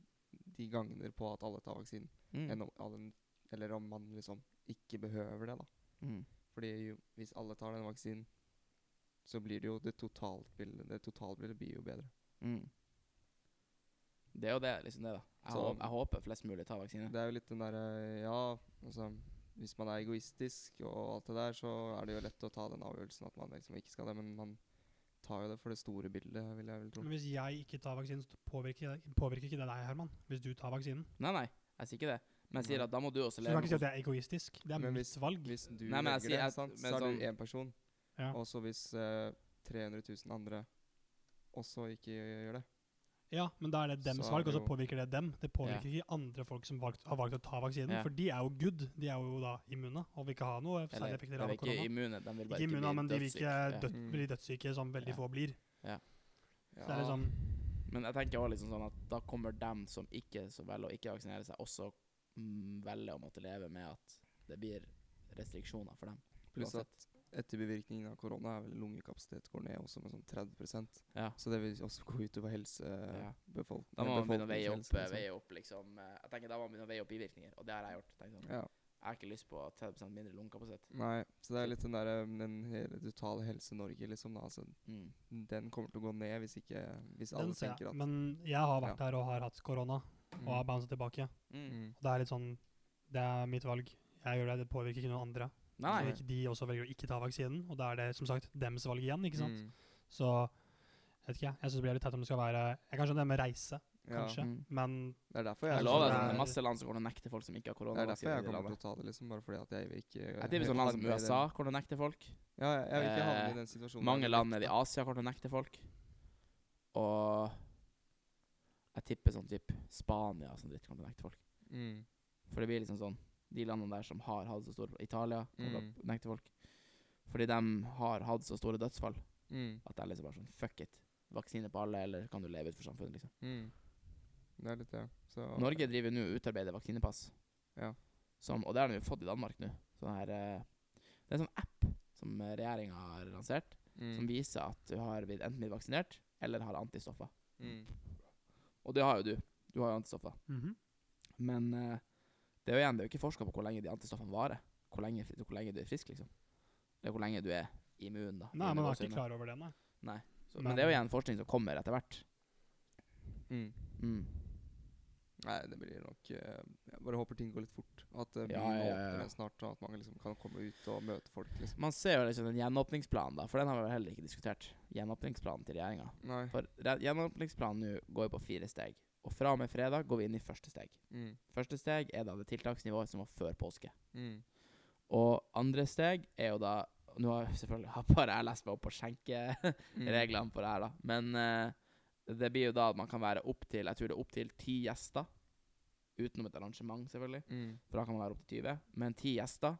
Speaker 4: De gagner på at alle tar vaksinen. Enn
Speaker 3: Mm.
Speaker 4: om alle, eller om man liksom ikke behøver det, da.
Speaker 3: Mm.
Speaker 4: Fordi jo, hvis alle tar den vaksinen, så blir det jo det totalbildet Det totalbildet blir jo bedre.
Speaker 3: Mm. Det er jo det, liksom det, da. Jeg,
Speaker 4: Så-
Speaker 3: håper, jeg håper flest mulig tar vaksine.
Speaker 4: Det er jo litt den derre Ja, altså Hvis man er egoistisk og alt det der, så er det jo lett å ta den avgjørelsen at man liksom ikke skal det. Men man tar jo det for det store bildet, vil jeg vel tro.
Speaker 2: Men hvis jeg ikke tar vaksinen, så påvirker, påvirker ikke det deg, Herman. Hvis du tar vaksinen.
Speaker 3: Nei, nei, jeg sier ikke det. Men jeg sier
Speaker 4: Nei.
Speaker 3: at da må du også
Speaker 2: Så du kan
Speaker 3: leve
Speaker 2: ikke si at det er egoistisk. Det er
Speaker 4: Men
Speaker 2: mitt valg.
Speaker 4: Hvis du
Speaker 3: Nei, men jeg
Speaker 4: velger
Speaker 3: sier
Speaker 4: det,
Speaker 3: at-
Speaker 4: sant,
Speaker 3: men
Speaker 4: så er
Speaker 3: sånn-
Speaker 4: du én person.
Speaker 2: Ja.
Speaker 4: Og så hvis eh, 300 000 andre også ikke gjør det
Speaker 2: Ja, men da er det dems
Speaker 4: Så er
Speaker 2: valg, og
Speaker 4: det
Speaker 2: så
Speaker 4: jo-
Speaker 2: påvirker det dem. Det påvirker ikke andre folk som valgt, har valgt å ta vaksinen,
Speaker 3: Ja.
Speaker 2: for de er jo good. De er jo da immune og vil ikke ha noe særlig
Speaker 3: Eller,
Speaker 2: effekter
Speaker 3: eller
Speaker 2: av
Speaker 3: ikke
Speaker 2: korona.
Speaker 3: immune, de vil bare
Speaker 2: Ikke immune, men de vil ikke
Speaker 3: dødssyke. Ja.
Speaker 2: død,
Speaker 4: Mm.
Speaker 2: bli dødssyke, som veldig
Speaker 3: Ja.
Speaker 2: få blir.
Speaker 4: ja.
Speaker 2: Så det er liksom
Speaker 3: Men jeg tenker også liksom sånn at da kommer dem som ikke så velger å ikke vaksinere seg, også mm, velge å måtte leve med at det blir restriksjoner for dem.
Speaker 4: Pluss
Speaker 3: uansett.
Speaker 4: at etterbevirkningen av korona er vel lungekapasitet går ned også med sånn 30
Speaker 3: Ja.
Speaker 4: Så det vil også gå utover helsebefolkningen.
Speaker 3: Da må man begynne å veie opp, eh, veie opp liksom eh, Jeg tenker da må man begynne å veie opp bivirkninger, og det har jeg gjort. Tenk sånn.
Speaker 4: Ja.
Speaker 3: Jeg har ikke lyst på 30 mindre lungekapasitet.
Speaker 4: Nei, så det er litt den der um, den hele totale Helse-Norge, liksom. Da. Altså,
Speaker 3: Mm.
Speaker 4: den kommer til å gå ned hvis ikke Hvis alle
Speaker 2: Den ser
Speaker 4: tenker
Speaker 2: jeg.
Speaker 4: at
Speaker 2: Men jeg har vært
Speaker 4: Ja.
Speaker 2: der og har hatt korona, og har bounsa tilbake.
Speaker 3: Mm.
Speaker 4: mm,
Speaker 2: Og det er litt sånn Det er mitt valg. Jeg gjør det, det påvirker ikke noen andre.
Speaker 3: Nei,
Speaker 2: Så
Speaker 3: nei.
Speaker 2: ikke de også velger å ikke ta vaksinen, og da er det som sagt dems valg igjen, ikke sant.
Speaker 4: mm,
Speaker 2: Så jeg vet ikke, jeg. Jeg syns det blir litt teit om det skal være Jeg kan skjønne det med reise,
Speaker 4: ja,
Speaker 2: kanskje,
Speaker 3: Mm.
Speaker 2: men
Speaker 4: Det er derfor jeg,
Speaker 2: Jeg
Speaker 3: Jeg
Speaker 4: er
Speaker 3: lover
Speaker 4: sånn-
Speaker 3: deg,
Speaker 2: det er-
Speaker 3: det er masse land som kommer til å nekte folk som ikke har
Speaker 4: Det er derfor
Speaker 3: koronavaksine.
Speaker 4: jeg kommer til å ta det, liksom. Bare fordi at jeg vil ikke
Speaker 3: Jeg tipper sånn land som
Speaker 4: havne i den-
Speaker 3: USA kommer til å nekte folk.
Speaker 4: Ja, jeg, jeg vil ikke havne
Speaker 3: Eh,
Speaker 4: i den situasjonen.
Speaker 3: Mange
Speaker 4: der.
Speaker 3: land nede i Asia kommer til å nekte folk. Og jeg tipper sånn typ Spania og sånn dritt kommer til å nekte folk.
Speaker 4: Mm.
Speaker 3: For det blir liksom sånn De landene der som har hatt så store Italia kommer
Speaker 4: Mm.
Speaker 3: til å nekte folk. Fordi de har hatt så store dødsfall
Speaker 4: Mm.
Speaker 3: at det er liksom bare sånn fuck it. Vaksine på alle, eller kan du leve utenfor samfunnet, liksom.
Speaker 4: Mm. Det er litt det. Så
Speaker 3: Norge driver nå og utarbeider vaksinepass.
Speaker 4: Ja.
Speaker 3: Som, og det har de jo fått i Danmark nå. Sånn her eh, Det er en sånn app som regjeringa har lansert,
Speaker 4: mm.
Speaker 3: som viser at du har blitt enten blitt vaksinert eller har antistoffer.
Speaker 4: mm.
Speaker 3: Og det har jo du. Du har jo antistoffer.
Speaker 2: mhm.
Speaker 3: Men eh, det er jo igjen, det er jo ikke forska på hvor lenge de antistoffene varer. Hvor lenge, fri- hvor lenge du er frisk, liksom. Eller hvor lenge du er immun, da.
Speaker 2: Nei,
Speaker 3: under
Speaker 2: man er
Speaker 3: gåseøynene.
Speaker 2: ikke klar over det, nei.
Speaker 3: Så, men det er jo
Speaker 2: Nei.
Speaker 3: igjen forskning som kommer etter hvert.
Speaker 4: Mm.
Speaker 3: Mm.
Speaker 4: Nei, det blir nok eh, Jeg bare håper ting går litt fort. At uh,
Speaker 3: Ja,
Speaker 4: byen
Speaker 3: ja, ja,
Speaker 4: åpner
Speaker 3: ja.
Speaker 4: snart, og at man liksom kan komme ut og møte folk. liksom
Speaker 3: Man ser jo liksom en gjenåpningsplan, da, for den har vi vel heller ikke diskutert. Gjenåpningsplanen til regjeringa.
Speaker 4: Nei.
Speaker 3: For re- gjenåpningsplanen nå går jo på fire steg. Og fra og med fredag går vi inn i første steg.
Speaker 4: Mm.
Speaker 3: Første steg er da det tiltaksnivået som var før påske.
Speaker 4: Mm.
Speaker 3: Og andre steg er jo da Nå har jeg selvfølgelig har bare jeg lest meg opp på skjenkereglene
Speaker 4: Mm.
Speaker 3: på det her, da. Men eh, det blir jo da at man kan være opptil Jeg tror det er opptil ti gjester. Utenom et arrangement, selvfølgelig.
Speaker 4: Mm.
Speaker 3: For da kan man være opptil 20. Men ti gjester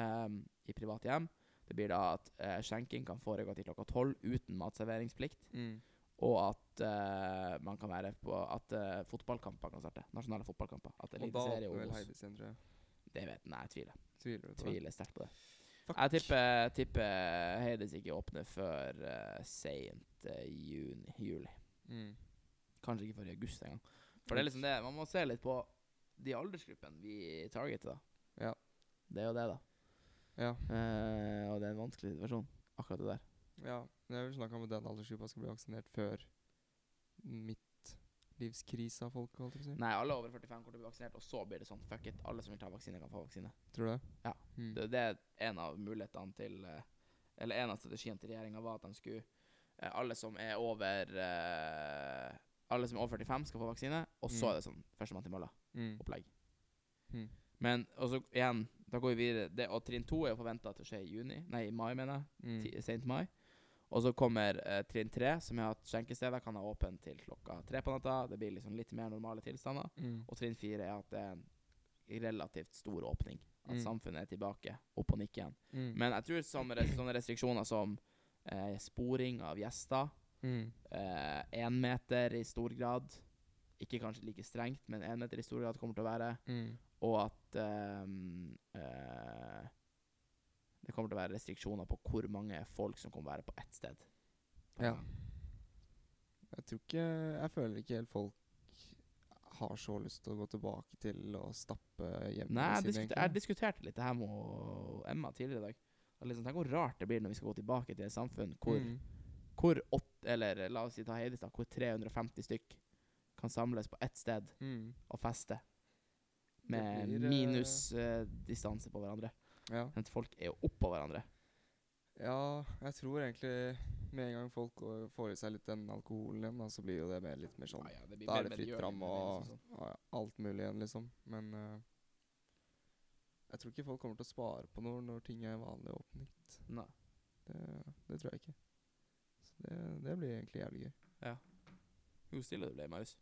Speaker 3: ehm, i private hjem. Det blir da at eh, skjenking kan foregå til klokka tolv uten matserveringsplikt.
Speaker 4: Mm.
Speaker 3: Og at eh, man kan være på At eh, fotballkamper kan starte. Nasjonale fotballkamper. At
Speaker 4: Og da
Speaker 3: Eliteserie
Speaker 4: åpner
Speaker 3: og
Speaker 4: vel
Speaker 3: Obos.
Speaker 4: Heidis igjen, tror jeg.
Speaker 3: Det vet Nei, jeg tviler.
Speaker 4: Tviler du på det?
Speaker 3: Tviler sterkt på det. Jeg tipper, tipper Heides ikke åpner før eh, seint eh, juni, juli.
Speaker 4: Mm.
Speaker 3: Kanskje ikke før i august engang. For det er liksom det, man må se litt på de aldersgruppene vi targeter, da.
Speaker 4: Ja.
Speaker 3: Det er jo det, da.
Speaker 4: Ja.
Speaker 3: Eh, og det er en vanskelig situasjon, akkurat det der.
Speaker 4: Ja, men jeg vil snakke om at den aldersgruppa skal bli vaksinert før midtlivskrisa, folk, holdt jeg på å si.
Speaker 3: Nei, alle over 45 kommer til å bli vaksinert, og så blir det sånn fuck it. Alle som vil ta vaksine, kan få vaksine.
Speaker 4: Tror du det?
Speaker 3: Ja.
Speaker 4: Mm.
Speaker 3: Det, det er en av mulighetene til eh, Eller en av strategiene til regjeringa var at de skulle eh, Alle som er over eh, Alle som er over 45, skal få vaksine, og så
Speaker 4: Mm.
Speaker 3: er det sånn førstemann til mølla.
Speaker 4: Mm.
Speaker 3: opplegg.
Speaker 4: Mm.
Speaker 3: Men og så igjen, da går vi videre. Det, og trinn to er jo forventa til å skje i juni, nei, i mai, mener jeg.
Speaker 4: Mm.
Speaker 3: Ti- Sent mai. Og så kommer eh, trinn tre, som er at skjenkesteder kan ha åpent til klokka tre på natta. Det blir liksom litt mer normale tilstander.
Speaker 4: Mm.
Speaker 3: Og trinn fire er at det er en relativt stor åpning. At
Speaker 4: Mm.
Speaker 3: samfunnet er tilbake, opp og nikke igjen.
Speaker 4: Mm.
Speaker 3: Men jeg tror sånne, res sånne restriksjoner som eh, sporing av gjester,
Speaker 4: mm.
Speaker 3: én meter i stor grad Ikke kanskje like strengt, men én meter i stor grad kommer til å være
Speaker 4: Mm.
Speaker 3: og at ehm, eh, det kommer til å være restriksjoner på hvor mange folk som kommer være på ett sted.
Speaker 4: Ja. Jeg tror ikke Jeg føler ikke helt folk har så lyst til å gå tilbake til å stappe hjemmene
Speaker 3: Nei, jeg,
Speaker 4: sine,
Speaker 3: diskuter, jeg diskuterte litt det her med å- Emma tidligere i dag. At Liksom, tenk hvor rart det blir når vi skal gå tilbake til et samfunn hvor,
Speaker 4: Mm.
Speaker 3: hvor åtte, eller la oss si ta Heidestad, hvor 350 stykk kan samles på ett sted
Speaker 4: Mm.
Speaker 3: og feste. Med
Speaker 4: blir, eh,
Speaker 3: minusdistanse på hverandre.
Speaker 4: Ja.
Speaker 3: Men folk er jo oppå hverandre.
Speaker 4: Ja, jeg tror egentlig med en gang folk går- får i seg litt den alkoholen igjen, da, så blir jo det mer, litt mer sånn Da er det fritt fram og
Speaker 3: liksom
Speaker 4: sånn.
Speaker 3: sånn.
Speaker 4: ja, alt mulig igjen, liksom. Men eh, jeg tror ikke folk kommer til å spare på noe når ting er vanlig åpning.
Speaker 3: Nei.
Speaker 4: Det, det tror jeg ikke. Så det, det blir egentlig jævlig gøy.
Speaker 3: Hvor stille du ble, Marius.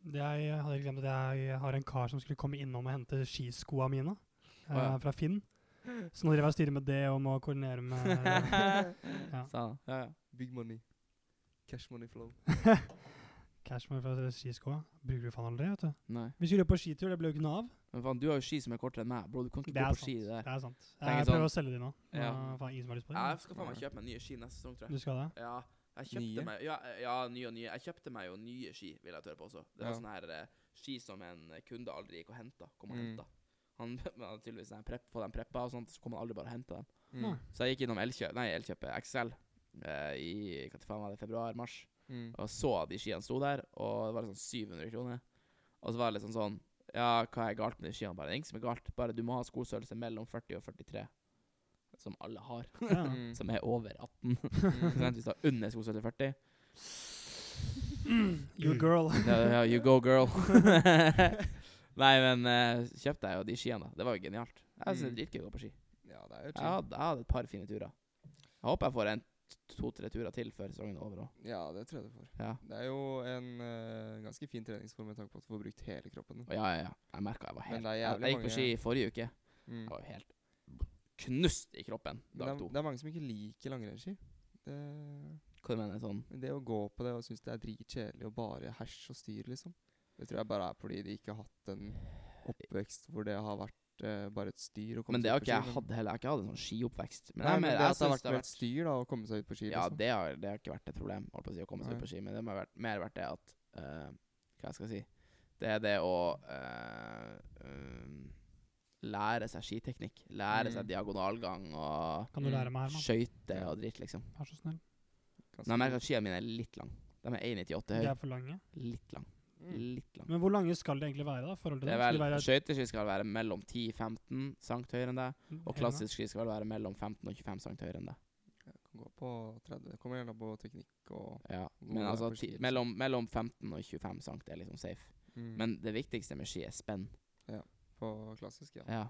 Speaker 2: Jeg hadde glemt at jeg har en kar som skulle komme innom og hente skiskoa mine eh,
Speaker 3: ja.
Speaker 2: fra Finn. Så nå driver jeg og styrer med det og må koordinere med Ja.
Speaker 3: Sa han. Ja, ja.
Speaker 4: Big money. Cash money flow.
Speaker 2: Cashmore fra skiskoa. Bruker du faen aldri, vet du.
Speaker 3: Nei.
Speaker 2: Vi skulle jo på skitur, det ble jo ikke noe av.
Speaker 3: Men faen, du har jo ski som er kortere enn meg, bro. Du kan ikke
Speaker 2: Det
Speaker 3: gå
Speaker 2: er
Speaker 3: på ski
Speaker 2: sant.
Speaker 3: der.
Speaker 2: Det er sant.
Speaker 3: Tenker
Speaker 2: Jeg
Speaker 3: sånn-
Speaker 2: prøver å selge de nå. Men
Speaker 3: Ja.
Speaker 2: faen, ingen som har lyst på
Speaker 3: Ja,
Speaker 2: dem.
Speaker 3: jeg skal faen meg kjøpe meg nye ski neste sesong, tror jeg.
Speaker 2: Du skal det?
Speaker 3: Ja, jeg kjøpte
Speaker 4: Nye?
Speaker 3: meg ja, eh, ja, nye og nye. Jeg kjøpte meg jo nye ski, vil jeg tørre på også. Det var
Speaker 4: Ja.
Speaker 3: sånne her eh, ski som en eh, kunde aldri gikk og henta. Kom og
Speaker 4: Mm.
Speaker 3: henta. Han han hadde tydeligvis sånn her prep, fått dem preppa og sånt, så kom han aldri bare og henta dem.
Speaker 4: Mm.
Speaker 2: Nei.
Speaker 3: Så jeg gikk innom Elkjøp, nei, Elkjøpet XL eh, i hva faen var det, februar-mars.
Speaker 4: Mm.
Speaker 3: Og så at de skiene sto der, og det var liksom 700 kroner. Og så var det liksom sånn Ja, hva er galt med de skiene? Bare det er ingenting som er galt. Bare du må ha skostørrelse mellom 40 og 43. Som alle har.
Speaker 2: Ja.
Speaker 4: Mm.
Speaker 3: Som er over 18.
Speaker 4: Mm.
Speaker 3: Sånn, Hvis du har under skostørrelse 40 Mm.
Speaker 2: You girl.
Speaker 3: ja, ja, You go, girl. Nei, men eh, kjøpte jeg jo de skiene, da. Det var jo genialt. Jeg synes det er
Speaker 4: Mm.
Speaker 3: dritgøy å gå på ski.
Speaker 4: Ja, det er jo
Speaker 3: Jeg
Speaker 4: chill.
Speaker 3: hadde, jeg hadde et par fine turer. Jeg håper jeg får en to-tre turer til før sesongen er over òg.
Speaker 4: Ja, det tror jeg du får.
Speaker 3: Ja.
Speaker 4: Det er jo en eh, ganske fin treningsform med tanke på at du får brukt hele kroppen. din.
Speaker 3: Og ja, ja, ja. Jeg merket jeg var helt
Speaker 4: Mm. Men det er
Speaker 3: Jeg,
Speaker 4: jævlig
Speaker 3: jeg gikk på
Speaker 4: mange-
Speaker 3: ski i forrige uke.
Speaker 4: Mm.
Speaker 3: Jeg var jo helt knust i kroppen
Speaker 4: Men
Speaker 3: dag
Speaker 4: det,
Speaker 3: to.
Speaker 4: er, det er mange som ikke liker langrennsski. Det,
Speaker 3: Hva du mener sånn
Speaker 4: men det å gå på det og synes det er dritkjedelig og bare hersj og styr, liksom. Det tror jeg bare er fordi de ikke har hatt en oppvekst hvor det har vært eh, bare et styr. Å komme
Speaker 3: Men det
Speaker 4: seg
Speaker 3: har
Speaker 4: ut på
Speaker 3: ikke jeg
Speaker 4: ski, men-
Speaker 3: hatt heller. Jeg har ikke hatt en sånn skioppvekst. Men
Speaker 4: Nei,
Speaker 3: jeg
Speaker 4: men
Speaker 3: mener- jeg
Speaker 4: det at det har
Speaker 3: synes
Speaker 4: vært med et styr da, å komme seg ut på ski,
Speaker 3: Ja,
Speaker 4: liksom.
Speaker 3: det har, det har ikke vært et problem holdt på å si, å komme seg ut
Speaker 4: Nei.
Speaker 3: på ski, men det har vært, mer vært det at eh, Hva skal jeg si Det er det å eh, um, lære seg skiteknikk. Lære
Speaker 4: Mm.
Speaker 3: seg diagonalgang og
Speaker 2: Kan du
Speaker 4: Mm.
Speaker 2: lære meg, Herman?
Speaker 3: skøyter og dritt, liksom.
Speaker 2: Vær så snill.
Speaker 3: Men jeg merker at skiene mine er litt lange. De er 1,98
Speaker 2: De
Speaker 3: høye.
Speaker 2: Altså, er for lange.
Speaker 3: Litt lang. Litt lang.
Speaker 2: Men hvor lange skal de egentlig være, da? i forhold til
Speaker 3: Det er
Speaker 2: Skal
Speaker 3: vel,
Speaker 2: de være
Speaker 3: Skøyteski skal være mellom 10-15 cm høyere enn deg. Og
Speaker 2: hele
Speaker 3: klassisk ski skal vel være mellom 15 og 25 cm høyere enn det.
Speaker 4: Kan gå på 30. Kommer gjerne på teknikk og
Speaker 3: Ja.
Speaker 4: Hvor
Speaker 3: Men
Speaker 4: er
Speaker 3: altså,
Speaker 4: på ski,
Speaker 3: ti,
Speaker 4: liksom?
Speaker 3: mellom, mellom 15 og 25 cm er liksom safe.
Speaker 4: mm,
Speaker 3: Men det viktigste med ski er spenn.
Speaker 4: på klassisk, ja.
Speaker 3: Ja.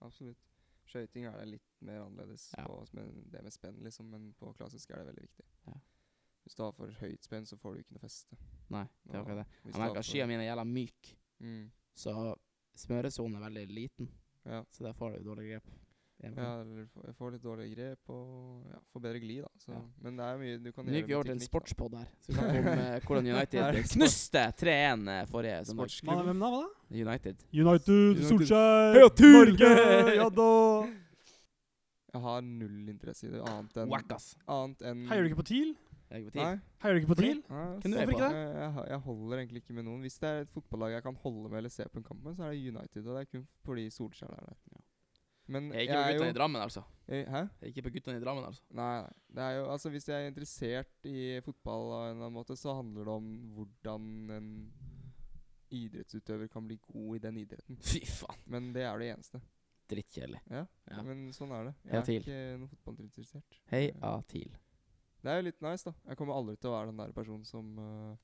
Speaker 4: Absolutt. Skøyting er det litt mer annerledes
Speaker 3: Ja.
Speaker 4: på men det med spenn, liksom, men på klassisk er det veldig viktig.
Speaker 3: Ja.
Speaker 4: Hvis du har for høyt spenn, så får du ikke noe feste.
Speaker 3: Nei, det var
Speaker 4: Ja,
Speaker 3: ikke det.
Speaker 4: Hvis
Speaker 3: Jeg merker at skiene mine er jævla myke,
Speaker 4: Mm.
Speaker 3: så smøresonen er veldig liten.
Speaker 4: Ja.
Speaker 3: Så der får du dårlig grep.
Speaker 4: ja, eller får- jeg får litt dårlig grep og ja, får bedre glid, da. Så.
Speaker 3: Ja.
Speaker 4: Men sånn det er mye du kan
Speaker 3: Nå gikk vi over til en
Speaker 4: teknikk, da.
Speaker 3: sportspod her. Så vi kan komme med hvordan
Speaker 4: Her er
Speaker 3: United
Speaker 4: det sport.
Speaker 3: knuste 3-1 eh, forrige søndag.
Speaker 2: Hva hvem da? Hva da? United,
Speaker 3: United.
Speaker 4: United.
Speaker 2: Solskjær,
Speaker 3: Heia tur!
Speaker 2: Norge! Ja da! Mm.
Speaker 4: Jeg har null interesse i det, annet enn
Speaker 3: Wack, ass.
Speaker 4: Annet enn
Speaker 2: Heier du ikke på TIL?
Speaker 3: Er det ikke på tid?
Speaker 4: Nei.
Speaker 2: Heier du ikke på
Speaker 3: Fordi-
Speaker 2: TIL?
Speaker 4: Nei,
Speaker 3: Kunne
Speaker 4: så-
Speaker 3: jeg på.
Speaker 4: Jeg, jeg, jeg holder egentlig ikke med noen. Hvis det er et fotballag jeg kan holde med eller se på en kamp med, så er det United. Og det er kun fordi Solskjær er der.
Speaker 3: Ja.
Speaker 4: Men
Speaker 3: Jeg er ikke på
Speaker 4: jo
Speaker 3: guttene i Drammen, altså.
Speaker 4: jeg, Hæ?
Speaker 3: Jeg er ikke på guttene i Drammen, altså.
Speaker 4: Nei, nei. Det er jo, altså, hvis jeg er interessert i fotball av en eller annen måte, så handler det om hvordan en idrettsutøver kan bli god i den idretten.
Speaker 3: Fy faen.
Speaker 4: Men det er det eneste.
Speaker 3: Drittkjedelig.
Speaker 4: Ja,
Speaker 3: Ja.
Speaker 4: Men sånn er det.
Speaker 3: Ja,
Speaker 4: Jeg
Speaker 3: TIL.
Speaker 4: er ikke noe fotballinteressert. Eh,
Speaker 3: Hei A-TIL.
Speaker 4: Det er jo litt nice, da. Jeg kommer aldri til å være den der personen som øh,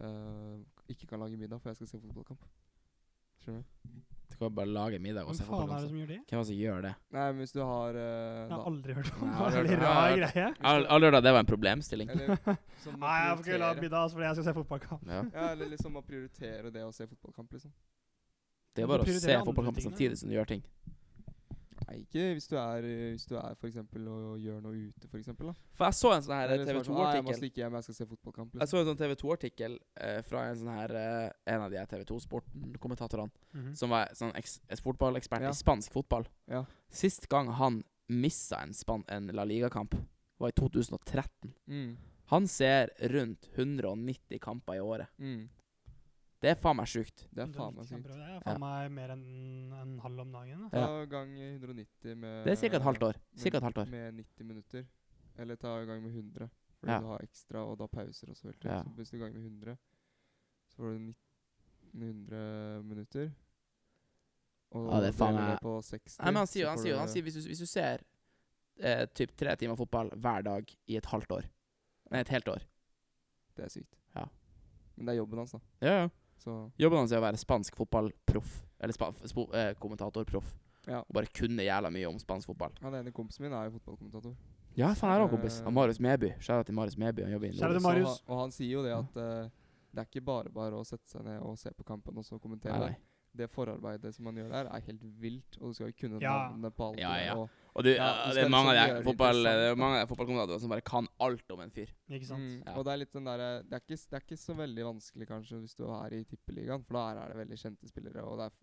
Speaker 4: øh, ikke kan lage middag, for jeg skal se fotballkamp. Skjønner du?
Speaker 3: Du kan bare lage middag og
Speaker 2: Hvem
Speaker 3: se
Speaker 2: faen er det
Speaker 3: fotball.
Speaker 2: som gjør det?
Speaker 3: Hvem er det som gjør det?
Speaker 4: Nei, men hvis du har øh,
Speaker 2: Jeg har aldri hørt om
Speaker 3: Nei,
Speaker 2: det.
Speaker 3: jeg har
Speaker 2: Det er
Speaker 3: hørt-
Speaker 2: en
Speaker 3: jeg har
Speaker 2: rar
Speaker 3: hørt-
Speaker 2: greie.
Speaker 4: da
Speaker 3: Alle alle hørte at det var en problemstilling.
Speaker 4: Eller som å
Speaker 2: Nei, jeg får ikke lage
Speaker 4: prioritere-
Speaker 2: middag altså, fordi jeg skal se fotballkamp.
Speaker 3: Ja.
Speaker 4: Ja, eller liksom å prioritere det å se fotballkamp, liksom.
Speaker 3: Det er
Speaker 2: Du
Speaker 3: bare å
Speaker 2: prioriterer
Speaker 3: se
Speaker 2: andre
Speaker 3: fotballkampen
Speaker 2: ting, da.
Speaker 3: samtidig som du gjør ting.
Speaker 4: Nei, ikke hvis du er eh, Hvis du er for eksempel og gjør noe ute, for eksempel. Da.
Speaker 3: For jeg så en sånn her
Speaker 4: Eller så er
Speaker 3: TV
Speaker 4: det sånn, «Ah, Jeg må
Speaker 3: 2-artikkel
Speaker 4: stikke hjem, jeg skal se fotballkamp.
Speaker 3: Jeg
Speaker 4: Liksom.
Speaker 3: så en sånn TV 2-artikkel eh, fra en sånn her eh, En av de her TV 2-sportkommentatorene
Speaker 2: Mhm.
Speaker 3: som var sånn eks- en fotballekspert
Speaker 4: Mm. Ja.
Speaker 3: i spansk fotball.
Speaker 4: Ja.
Speaker 3: Sist gang han missa en, span en La Liga-kamp, var i 2013.
Speaker 4: Mm,
Speaker 3: Han ser rundt 190 kamper i året.
Speaker 4: mm.
Speaker 3: Det er faen meg sjukt.
Speaker 4: Det er faen meg
Speaker 2: 190
Speaker 4: sykt.
Speaker 2: kamper. Det er
Speaker 3: Ja.
Speaker 2: faen meg mer enn en halv om dagen. altså. Da.
Speaker 4: Ta
Speaker 3: Ja.
Speaker 4: gang i 190 med
Speaker 3: Det er ca. et halvt år.
Speaker 4: Eh,
Speaker 3: Cirka et halvt år.
Speaker 4: med, med 90 minutter. Eller ta gang med 100. Fordi
Speaker 3: Ja.
Speaker 4: du har ekstra, og da pauser og så videre.
Speaker 3: Ja.
Speaker 4: Så hvis du ganger med 100, så får du 1900 minutter. Og
Speaker 3: Ja, det er faen
Speaker 4: deler
Speaker 3: meg-
Speaker 4: på 60,
Speaker 3: Nei, men han sier jo
Speaker 4: så
Speaker 3: han
Speaker 4: får
Speaker 3: sier, jo-
Speaker 4: du-
Speaker 3: han sier hvis, du, hvis du ser eh, typ tre timer fotball hver dag i et halvt år Nei, et helt år.
Speaker 4: Det er sykt.
Speaker 3: Ja.
Speaker 4: Men det er jobben hans, da.
Speaker 3: Ja, ja.
Speaker 4: Så
Speaker 3: Jobben hans er å være spansk fotballproff. Eller spa, spo, eh, kommentatorproff.
Speaker 4: ja.
Speaker 3: Og bare kunne jævla mye om spansk fotball.
Speaker 4: Han ene kompisen min er jo fotballkommentator.
Speaker 3: Ja, faen, jeg har en kompis.
Speaker 4: Eh.
Speaker 3: Han Marius Meby. Skjæra til Marius Meby. Han jobber i
Speaker 2: Shout out til
Speaker 3: Nordis.
Speaker 2: Marius.
Speaker 4: Og, han- og han sier jo det at eh, det er ikke bare bare å sette seg ned og se på kampen og så kommentere.
Speaker 3: Nei, nei.
Speaker 4: Det forarbeidet som man gjør der, er helt vilt, og du skal jo kunne
Speaker 2: Ja.
Speaker 4: navnet på alt.
Speaker 3: Ja,
Speaker 4: det der,
Speaker 3: ja.
Speaker 4: Og,
Speaker 3: Og du,
Speaker 4: Ja,
Speaker 3: eh,
Speaker 4: du
Speaker 3: det er
Speaker 4: skal
Speaker 3: mange av de
Speaker 4: liksom gjøre
Speaker 3: her
Speaker 4: det
Speaker 3: fotball, det
Speaker 4: interessant, da.
Speaker 3: er mange av de fotballkommentatorene som bare kan alt om en fyr.
Speaker 2: Ikke sant?
Speaker 4: Mm,
Speaker 3: Ja.
Speaker 4: og det er litt den derre det, er ikke s- det er ikke så veldig vanskelig kanskje hvis du er i Tippeligaen, for der er det veldig kjente spillere, og der f-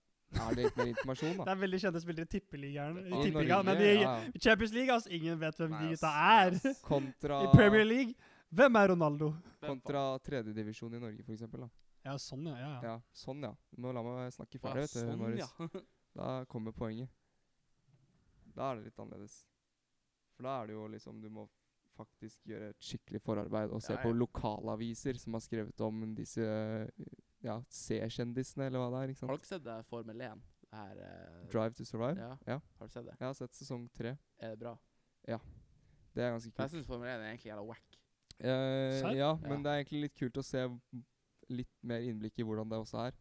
Speaker 4: er det litt mer informasjon,
Speaker 2: Det
Speaker 4: da.
Speaker 2: er veldig kjente spillere i tippeligaen. I
Speaker 4: I
Speaker 2: tippeligaen men i
Speaker 4: Norge, ja, ja.
Speaker 2: Champions League, altså, ingen vet hvem
Speaker 3: Nei,
Speaker 2: de gutta er.
Speaker 3: ass.
Speaker 4: Kontra,
Speaker 2: I Premier League, hvem er Ronaldo?
Speaker 4: kontra tredjedivisjon i Norge, for eksempel. Da.
Speaker 2: Ja, sånn, ja. ja.
Speaker 4: Ja, sånn, ja. Nå la meg snakke
Speaker 3: Å,
Speaker 4: ferdig, vet du,
Speaker 3: sånn,
Speaker 4: Marius.
Speaker 3: ja.
Speaker 4: Da kommer poenget. Da er det litt annerledes. For da er det jo liksom Du må faktisk gjøre et skikkelig forarbeid og se
Speaker 3: Ja,
Speaker 4: på
Speaker 3: ja.
Speaker 4: lokalaviser som har skrevet om disse ja, C-kjendisene, eller hva det er. ikke
Speaker 3: Har
Speaker 4: sant?
Speaker 3: dere sett det her Formel 1? Det her eh,
Speaker 4: Drive to Survive.
Speaker 3: Ja.
Speaker 4: Ja.
Speaker 3: Har du sett det?
Speaker 4: Jeg har sett sesong tre.
Speaker 3: Er det bra?
Speaker 4: Det er ganske
Speaker 3: Jeg
Speaker 4: kult.
Speaker 3: syns Formel 1 er egentlig jævla wack.
Speaker 4: Eh,
Speaker 2: Serr?
Speaker 4: ja,
Speaker 3: Ja.
Speaker 4: men det er egentlig litt kult å se v- litt mer innblikk i hvordan det også er.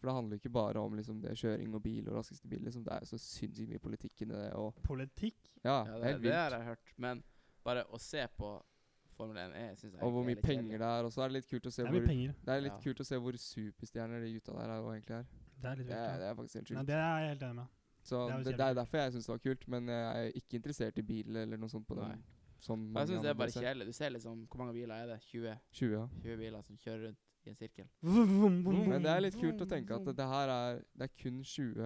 Speaker 4: For det handler jo ikke bare om liksom, det kjøring og bil og raskeste bil. Liksom. Det er jo så sinnssykt mye politikk inni det. Og,
Speaker 2: Politikk.
Speaker 3: Ja,
Speaker 4: ja, det
Speaker 3: det,
Speaker 4: er
Speaker 3: det
Speaker 4: helt vilt.
Speaker 3: har jeg hørt. Men bare å se på Formel 1 jeg synes jeg
Speaker 4: Og hvor
Speaker 3: egentlig
Speaker 4: mye
Speaker 3: er litt
Speaker 4: penger
Speaker 3: kjedelig.
Speaker 4: det er. Og så er det litt kult å se
Speaker 2: Det er
Speaker 4: hvor
Speaker 2: mye penger.
Speaker 4: Det er litt
Speaker 3: Ja.
Speaker 4: kult å se hvor superstjerner de gutta der er jo egentlig er.
Speaker 2: Det er litt
Speaker 4: Det er,
Speaker 2: vilt.
Speaker 4: det er faktisk helt
Speaker 2: Ja. Nei,
Speaker 4: sjukt.
Speaker 2: det er jeg helt enig med.
Speaker 4: Så
Speaker 2: det er jo
Speaker 4: det, det er
Speaker 2: kjempegøy.
Speaker 4: derfor jeg syns det var kult, men jeg er ikke interessert i bil eller noe sånt på
Speaker 3: Nei.
Speaker 4: den. Sånn
Speaker 3: Jeg syns
Speaker 4: mange
Speaker 3: det er
Speaker 4: andre
Speaker 3: bare
Speaker 4: ser.
Speaker 3: kjedelig. Du ser liksom Hvor mange biler er det? 20?
Speaker 4: 20, ja.
Speaker 3: 20 biler som kjører rundt i en sirkel.
Speaker 2: Vum, vum, vum,
Speaker 4: Men det er litt
Speaker 2: vum,
Speaker 4: kult å tenke at
Speaker 2: vum.
Speaker 4: det her er Det er kun 20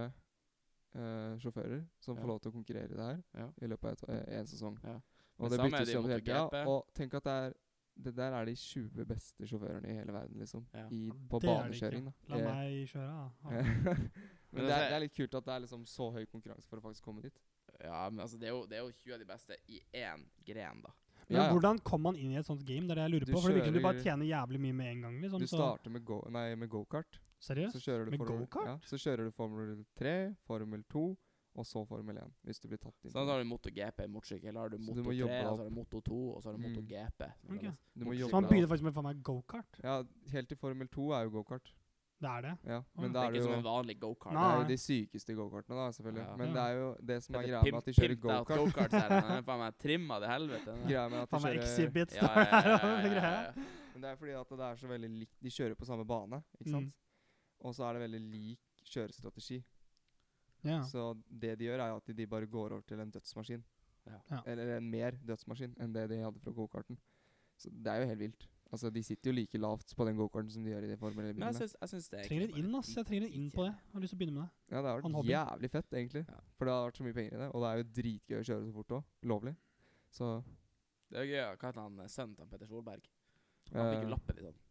Speaker 4: eh, sjåfører som
Speaker 3: Ja.
Speaker 4: får lov til å konkurrere i det her
Speaker 3: Ja.
Speaker 4: i løpet av én sesong.
Speaker 3: Ja. Men
Speaker 4: Og det
Speaker 3: samme er
Speaker 4: byttes
Speaker 3: det i
Speaker 4: jo om hele tida.
Speaker 3: MotoGP.
Speaker 4: Og tenk at det er det der er de 20 beste sjåførene i hele verden, liksom.
Speaker 3: Ja.
Speaker 4: I, på
Speaker 2: Det er det ikke.
Speaker 4: banekjøring, da.
Speaker 2: La
Speaker 4: Eh,
Speaker 2: meg kjøre, da. Ja.
Speaker 4: Men
Speaker 3: Men
Speaker 4: det er,
Speaker 3: altså-
Speaker 4: det er litt kult at det er liksom så høy konkurranse for å faktisk komme dit.
Speaker 3: Ja, men altså, det er jo, det er jo 20 av de beste i én gren, da.
Speaker 2: Men hvordan kom man inn i et sånt game? Det er det jeg lurer
Speaker 4: Du
Speaker 2: på. For det virker som du bare
Speaker 4: kjører-
Speaker 2: tjener jævlig mye med en gang. liksom.
Speaker 4: Du
Speaker 2: Så,
Speaker 4: starter med go- nei, med gokart.
Speaker 2: seriøst?
Speaker 4: Så kjører du
Speaker 2: Med
Speaker 4: Formel-
Speaker 2: go-kart?
Speaker 4: Ja, så kjører du Formel 3, Formel 2 og så Formel 1. Hvis du blir tatt inn.
Speaker 3: Sånn, Så da har du MotoGP, motorsykkel, har du
Speaker 4: Så du
Speaker 3: Moto
Speaker 4: må
Speaker 3: 3,
Speaker 4: jobbe
Speaker 3: og
Speaker 4: opp.
Speaker 3: så har du Moto Sånn, 2, og så har du
Speaker 4: Mm.
Speaker 3: MotoGP. som
Speaker 2: Ok.
Speaker 3: kalles.
Speaker 4: du må
Speaker 3: Så
Speaker 4: jobbe
Speaker 2: Så man
Speaker 4: deg
Speaker 2: begynner
Speaker 4: opp.
Speaker 2: faktisk med faen meg gokart.
Speaker 4: Ja, helt til Formel 2 er jo gokart.
Speaker 2: Det er det.
Speaker 4: Ja,
Speaker 2: ja.
Speaker 4: men
Speaker 3: Det
Speaker 4: da
Speaker 3: er
Speaker 4: er det
Speaker 3: ikke
Speaker 4: jo
Speaker 3: som en vanlig
Speaker 4: det
Speaker 3: gokart.
Speaker 2: Nei.
Speaker 4: er jo de sykeste gokartene, da, selvfølgelig.
Speaker 3: Ja.
Speaker 4: Men
Speaker 2: Ja.
Speaker 4: det er jo det som
Speaker 3: Det
Speaker 4: er
Speaker 3: er
Speaker 4: greia med at de kjører
Speaker 3: pimped out
Speaker 4: gokart.
Speaker 3: go-kart, ser jeg. Den er faen meg trimma til helvete. den der.
Speaker 4: Greia med at de
Speaker 2: Faen meg
Speaker 4: kjører
Speaker 2: exhibit
Speaker 3: Ja,
Speaker 2: står der og
Speaker 3: ja, ja, ja,
Speaker 2: greier.
Speaker 3: ja, ja.
Speaker 4: Men det er fordi at det er så veldig likt De kjører på samme bane, ikke
Speaker 2: Mm.
Speaker 4: sant? Og så er det veldig lik kjørestrategi.
Speaker 2: Ja.
Speaker 4: Så det de gjør, er at de bare går over til en dødsmaskin.
Speaker 3: Ja.
Speaker 2: Ja.
Speaker 4: Eller en mer dødsmaskin enn det de hadde fra gokarten. Så det er jo helt vilt. Altså, De sitter jo like lavt på den gokarten som de gjør i de Formel
Speaker 3: Men altså, jeg
Speaker 4: 1-bilene.
Speaker 3: syns, jeg syns det er
Speaker 2: Trenger
Speaker 3: egentlig
Speaker 2: litt inn,
Speaker 3: bare
Speaker 2: ass. Jeg trenger litt inn på det. Jeg har lyst til å begynne med det.
Speaker 4: Ja, det har
Speaker 2: Han
Speaker 4: vært
Speaker 2: hobby.
Speaker 4: jævlig fett, egentlig.
Speaker 3: Ja.
Speaker 4: For det har vært så mye penger i det. Og det er jo dritgøy å kjøre så fort òg. Lovlig. Så
Speaker 3: Det er jo gøy. ja. Hva heter han eh, sønnen til han Petter Solberg? Han fikk jo
Speaker 4: Eh,
Speaker 3: lappen litt sånn i år.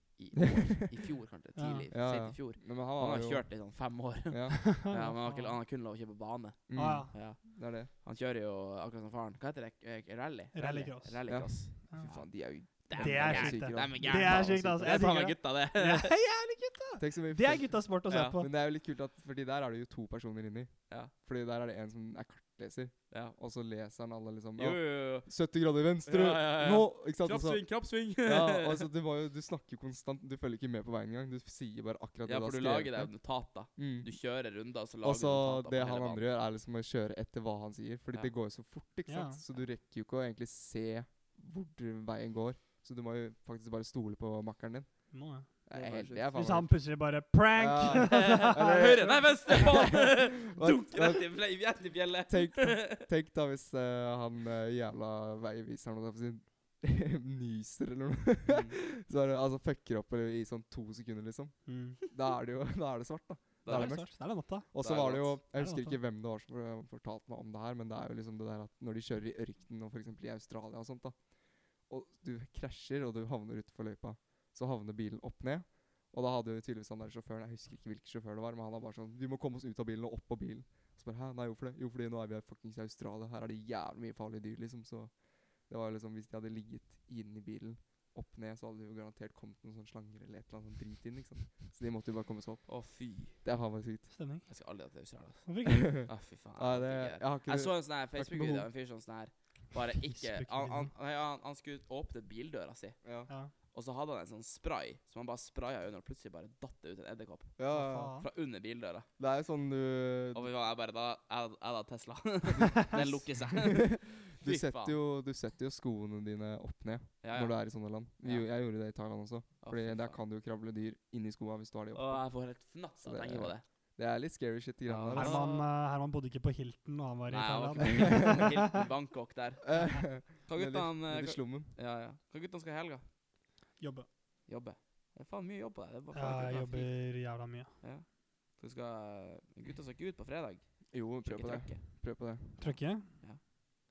Speaker 3: I fjor, kanskje.
Speaker 2: Ja.
Speaker 3: Tidlig.
Speaker 4: Ja, ja.
Speaker 3: Sent i fjor.
Speaker 4: men, men han
Speaker 3: Han
Speaker 4: var
Speaker 3: har
Speaker 4: jo
Speaker 3: kjørt i sånn fem år.
Speaker 4: Ja,
Speaker 3: Ja, men han har, ikke, han har kun lov å kjøre på bane.
Speaker 4: mm,
Speaker 2: Ah,
Speaker 3: Ja.
Speaker 4: det er det.
Speaker 3: Han kjører jo akkurat som faren. Hva heter det? Eh, Rally?
Speaker 2: Rallycross.
Speaker 3: Rallycross.
Speaker 2: ja.
Speaker 4: Fy faen, de er jo
Speaker 3: Damn,
Speaker 2: Det er
Speaker 3: gærent.
Speaker 2: sjukt, det.
Speaker 3: Damn,
Speaker 2: Det er
Speaker 3: gærent,
Speaker 2: sjukt,
Speaker 3: altså.
Speaker 2: altså.
Speaker 3: Det
Speaker 2: Jeg
Speaker 3: er faen
Speaker 2: digger det.
Speaker 3: meg gutta, det.
Speaker 2: Ja, jævlig gutta!
Speaker 4: Tenk så mye
Speaker 2: Det er
Speaker 4: folk-
Speaker 2: gutta sport å se
Speaker 3: Ja,
Speaker 2: på.
Speaker 4: Men det er jo litt kult, at, fordi der er det jo to personer inni.
Speaker 3: Ja.
Speaker 4: Fordi der er det en som er kartleser,
Speaker 3: Ja.
Speaker 4: og så leser han alle liksom
Speaker 3: Jo,
Speaker 4: «Ja,
Speaker 3: jo, jo.
Speaker 4: 70 grader venstre!
Speaker 3: Ja, ja, ja.
Speaker 4: Nå! Ikke sant? Og så-
Speaker 3: Krappsving, krappsving!
Speaker 4: ja, altså, du, må jo, du snakker konstant, du følger ikke med på veien engang. Du sier bare akkurat
Speaker 3: Ja,
Speaker 4: det
Speaker 3: for du
Speaker 4: du har
Speaker 3: lager
Speaker 4: skrevet.
Speaker 3: deg notater.
Speaker 4: Mm.
Speaker 3: Du kjører runder, og så
Speaker 4: Og
Speaker 3: lager du
Speaker 4: så
Speaker 3: notater. på
Speaker 4: det
Speaker 3: hele
Speaker 4: han
Speaker 3: banen.
Speaker 4: andre gjør, er liksom å kjøre etter hva han sier. Fordi
Speaker 3: Ja.
Speaker 4: det går jo så fort, ikke
Speaker 2: Ja.
Speaker 4: sant. Så du rekker jo ikke å egentlig se hvor du- veien går. Så du må jo faktisk bare stole på makkeren din.
Speaker 2: Må jeg.
Speaker 4: Det
Speaker 3: Det
Speaker 4: er
Speaker 3: var
Speaker 4: helt,
Speaker 3: sjukt.
Speaker 4: det er faen
Speaker 2: Hvis
Speaker 4: meg
Speaker 2: han plutselig bare prank!
Speaker 4: Eller-
Speaker 3: Høyre, nei, venstre! faen!
Speaker 4: Hva-
Speaker 3: Dunk
Speaker 4: hva-
Speaker 3: rett i fle- rett i fjellet.
Speaker 4: Tenk, tenk da hvis eh, han eh, jævla veiviseren holdt jeg på å si, nyser eller noe. Så er det, altså fucker opp i sånn to sekunder, liksom.
Speaker 2: Mm.
Speaker 4: Da er det jo da er det svart, da.
Speaker 3: Da er det
Speaker 4: mørkt.
Speaker 2: svart. Det er det natta.
Speaker 4: Og
Speaker 3: Da
Speaker 4: så
Speaker 3: er
Speaker 4: var
Speaker 3: det
Speaker 4: det jo
Speaker 3: natt.
Speaker 2: Da er
Speaker 4: Jeg
Speaker 2: det
Speaker 4: husker
Speaker 2: natt,
Speaker 4: ikke hvem det var som for- fortalte meg om det her, men det er jo liksom det der at når de kjører i ørkenen og f.eks. i Australia og sånt, da, og du krasjer og du havner utfor løypa, så havner bilen opp ned. Og da hadde jo tydeligvis han der sjåføren, jeg husker ikke hvilken sjåfør det var, men han var bare sånn Vi må komme oss ut av bilen og opp på bilen. Og så bare Hæ, nei, hvorfor det? Jo, fordi nå er vi her fuckings i Australia, her er det jævlig mye farlige dyr, liksom, så det var jo liksom Hvis de hadde ligget inni bilen opp ned, så hadde det jo garantert kommet noen sånne slanger eller et eller annet sånn drit inn, ikke sant. Så de måtte jo bare komme seg opp.
Speaker 3: sånn- Å, fy.
Speaker 4: Det er faen meg sykt.
Speaker 2: Stemning.
Speaker 3: Jeg skal aldri dra til Australia. altså.
Speaker 2: Hvorfor ikke?
Speaker 3: Å, fy faen.
Speaker 4: Nei, det,
Speaker 3: jeg orker ikke.
Speaker 4: jeg har ikke
Speaker 3: Jeg så en sånn her
Speaker 4: ikke
Speaker 3: Facebook-video
Speaker 4: behov.
Speaker 3: av en fyr som sånn her Bare ikke Han, han, nei, han, han skulle åpne bildøra si,
Speaker 4: Ja.
Speaker 2: Ja.
Speaker 3: og så hadde han en sånn spray som han bare spraya under, og plutselig bare datt det ut en edderkopp
Speaker 4: Ja,
Speaker 2: Hva
Speaker 4: ja.
Speaker 2: faen?
Speaker 3: fra under bildøra.
Speaker 4: Det er jo sånn du
Speaker 3: Og vi var jeg bare da Jeg jeg da Tesla. Den lukker seg.
Speaker 4: Du
Speaker 3: Fy faen.
Speaker 4: setter jo, du setter jo skoene dine opp ned
Speaker 3: Ja, ja.
Speaker 4: når du er i sånne land. Vi,
Speaker 3: Ja.
Speaker 4: gjo- Jeg gjorde det i Thailand også.
Speaker 3: Å,
Speaker 4: Fordi
Speaker 3: fy
Speaker 4: der
Speaker 3: faen.
Speaker 4: kan du jo kravle dyr inni skoa hvis du har de
Speaker 3: Å,
Speaker 4: oppe.
Speaker 3: jeg får helt fnatt av å
Speaker 4: Det-
Speaker 3: tenke på det.
Speaker 4: Det er litt scary shit, de
Speaker 3: Ja,
Speaker 4: greiene der.
Speaker 3: det er
Speaker 4: altså.
Speaker 2: Herman, eh, Herman bodde ikke på Hilton da han var i
Speaker 3: Nei, jeg var
Speaker 2: Thailand.
Speaker 3: ikke på Hilton i Bangkok der.
Speaker 4: Eh,
Speaker 3: Hva
Speaker 4: nede i-
Speaker 3: guttene
Speaker 4: Nede i
Speaker 3: hva-
Speaker 4: slummen.
Speaker 3: Ja, ja. Hva guttene skal i helga?
Speaker 2: Jobbe.
Speaker 3: Jobbe. Det er faen mye jobb på deg. Det er bare
Speaker 2: Ja,
Speaker 3: faen
Speaker 2: jeg
Speaker 3: ikke bra fri.
Speaker 2: jobber jævla mye.
Speaker 3: Ja. Du skal Gutta skal ikke ut på fredag.
Speaker 4: Jo, prøv
Speaker 3: Sjekke
Speaker 4: på det.
Speaker 3: trøkket.
Speaker 4: Prøv på det.
Speaker 2: Trøkke?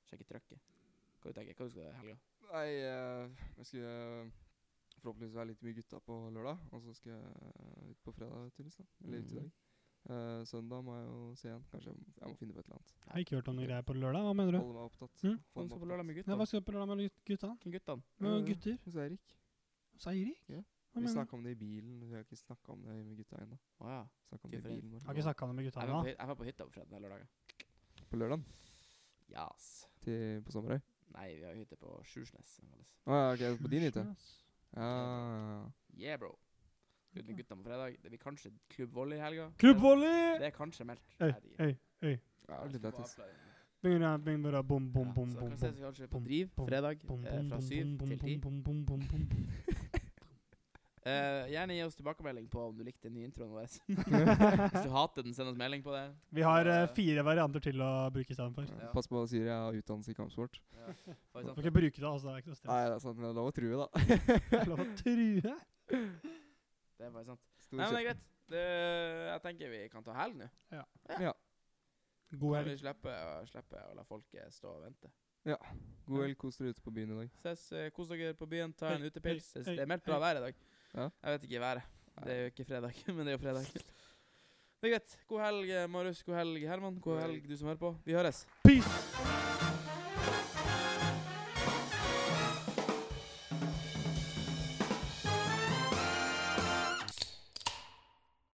Speaker 3: Sjekke trøkket. Hva du tenker Hva du skal i helga?
Speaker 4: Nei, eh, jeg skulle eh, forhåpentligvis være litt mye gutta på lørdag, og så skal jeg eh, ut på fredag, tydeligvis. da. Eller ut i
Speaker 3: Mhm.
Speaker 4: dag. Eh, søndag må jeg jo se igjen. Kanskje jeg må, jeg må finne på et eller annet.
Speaker 2: Jeg har ikke hørt om noen greier på lørdag. Hva mener du?
Speaker 4: Holde meg opptatt.
Speaker 3: Mm.
Speaker 2: Mhm.
Speaker 3: Hva
Speaker 4: Holde
Speaker 3: skal
Speaker 4: meg
Speaker 3: på
Speaker 4: opptatt.
Speaker 3: lørdag med
Speaker 2: Ja,
Speaker 3: guttene?
Speaker 2: hva skal jeg på lørdag med gut- gutta?
Speaker 3: Hvem guttene?
Speaker 2: Med
Speaker 4: Eh,
Speaker 2: gutter?
Speaker 4: Hos Eirik.
Speaker 2: Seirik?
Speaker 4: Ja.
Speaker 2: Hva
Speaker 4: Vi
Speaker 2: mener du?
Speaker 4: snakka om det i bilen. Vi har ikke snakka om det med gutta ennå.
Speaker 3: Å ja.
Speaker 4: Snakket om
Speaker 3: Fy
Speaker 4: det i
Speaker 3: for en-
Speaker 4: bilen vår.
Speaker 2: Jeg har ikke snakka om det med gutta
Speaker 3: Jeg
Speaker 2: ennå.
Speaker 3: var på hy- jeg var på hytta på fredag eller lørdag.
Speaker 4: På lørdag?
Speaker 3: Yes.
Speaker 4: Til, på Sommerøy?
Speaker 3: Nei, vi har hytte på Sjursnes. eller noe sånt.
Speaker 4: Å ja, ok, på din hytte? Ja, ja, ja.
Speaker 3: Yeah, bro. Ut med gutta på fredag. Det blir kanskje klubbvolley i helga.
Speaker 2: Klubbvolley!
Speaker 3: Det er kanskje meldt.
Speaker 2: Øy,
Speaker 3: Jeg vet ikke.
Speaker 2: øy, øy.
Speaker 4: Ja, litt
Speaker 3: Jeg skal
Speaker 4: lættis.
Speaker 3: få avsløring.
Speaker 2: Bing, bing, bing, bada, Bom, bom,
Speaker 3: Ja,
Speaker 2: bom,
Speaker 3: så
Speaker 2: bom,
Speaker 3: kan vi
Speaker 2: bom.
Speaker 3: ses kanskje på
Speaker 2: bom,
Speaker 3: Driv
Speaker 2: bom,
Speaker 3: fredag
Speaker 2: Bom,
Speaker 3: eh,
Speaker 2: bom,
Speaker 3: fra
Speaker 2: bom,
Speaker 3: 7
Speaker 2: bom,
Speaker 3: til 10.
Speaker 2: bom, bom, bom, bom, bom.
Speaker 3: Eh, gjerne gi oss tilbakemelding på om du likte den nye introen vår. Hvis du hater den, send oss melding på det.
Speaker 2: Vi har eh, fire varianter til å bruke istedenfor.
Speaker 4: Ja,
Speaker 3: Ja.
Speaker 4: Pass på, sier jeg har utdannelse i kampsport.
Speaker 3: Ja, sånn-
Speaker 2: Du
Speaker 3: for eksempel.
Speaker 2: kan ikke bruke det, altså. Det er ikke noe
Speaker 4: Nei,
Speaker 2: stress.
Speaker 4: det er sant, men det er lov å true, da.
Speaker 2: Det er lov å true.
Speaker 3: Det er bare sånn- sant.
Speaker 4: Stor
Speaker 3: Nei, men det er
Speaker 4: kjeft.
Speaker 3: greit. Det, jeg tenker vi kan ta helg nå.
Speaker 2: God
Speaker 3: Kan
Speaker 2: helg.
Speaker 3: vi slippe å, slippe å la folket stå og vente.
Speaker 4: God helg, kos dere ute på byen i dag.
Speaker 3: Ses, eh, kos dere på byen, ta en
Speaker 2: Hei,
Speaker 3: utepils.
Speaker 2: hei,
Speaker 3: Det
Speaker 2: hei,
Speaker 3: er meldt
Speaker 2: hei.
Speaker 3: bra vær i dag.
Speaker 4: Ja.
Speaker 3: Jeg vet ikke været. Det er jo ikke fredag, men det er jo fredag. Det er greit. God helg, eh, Marius. God helg, Herman. God
Speaker 4: God
Speaker 3: helg, du som hører på. Vi høres.
Speaker 2: Peace!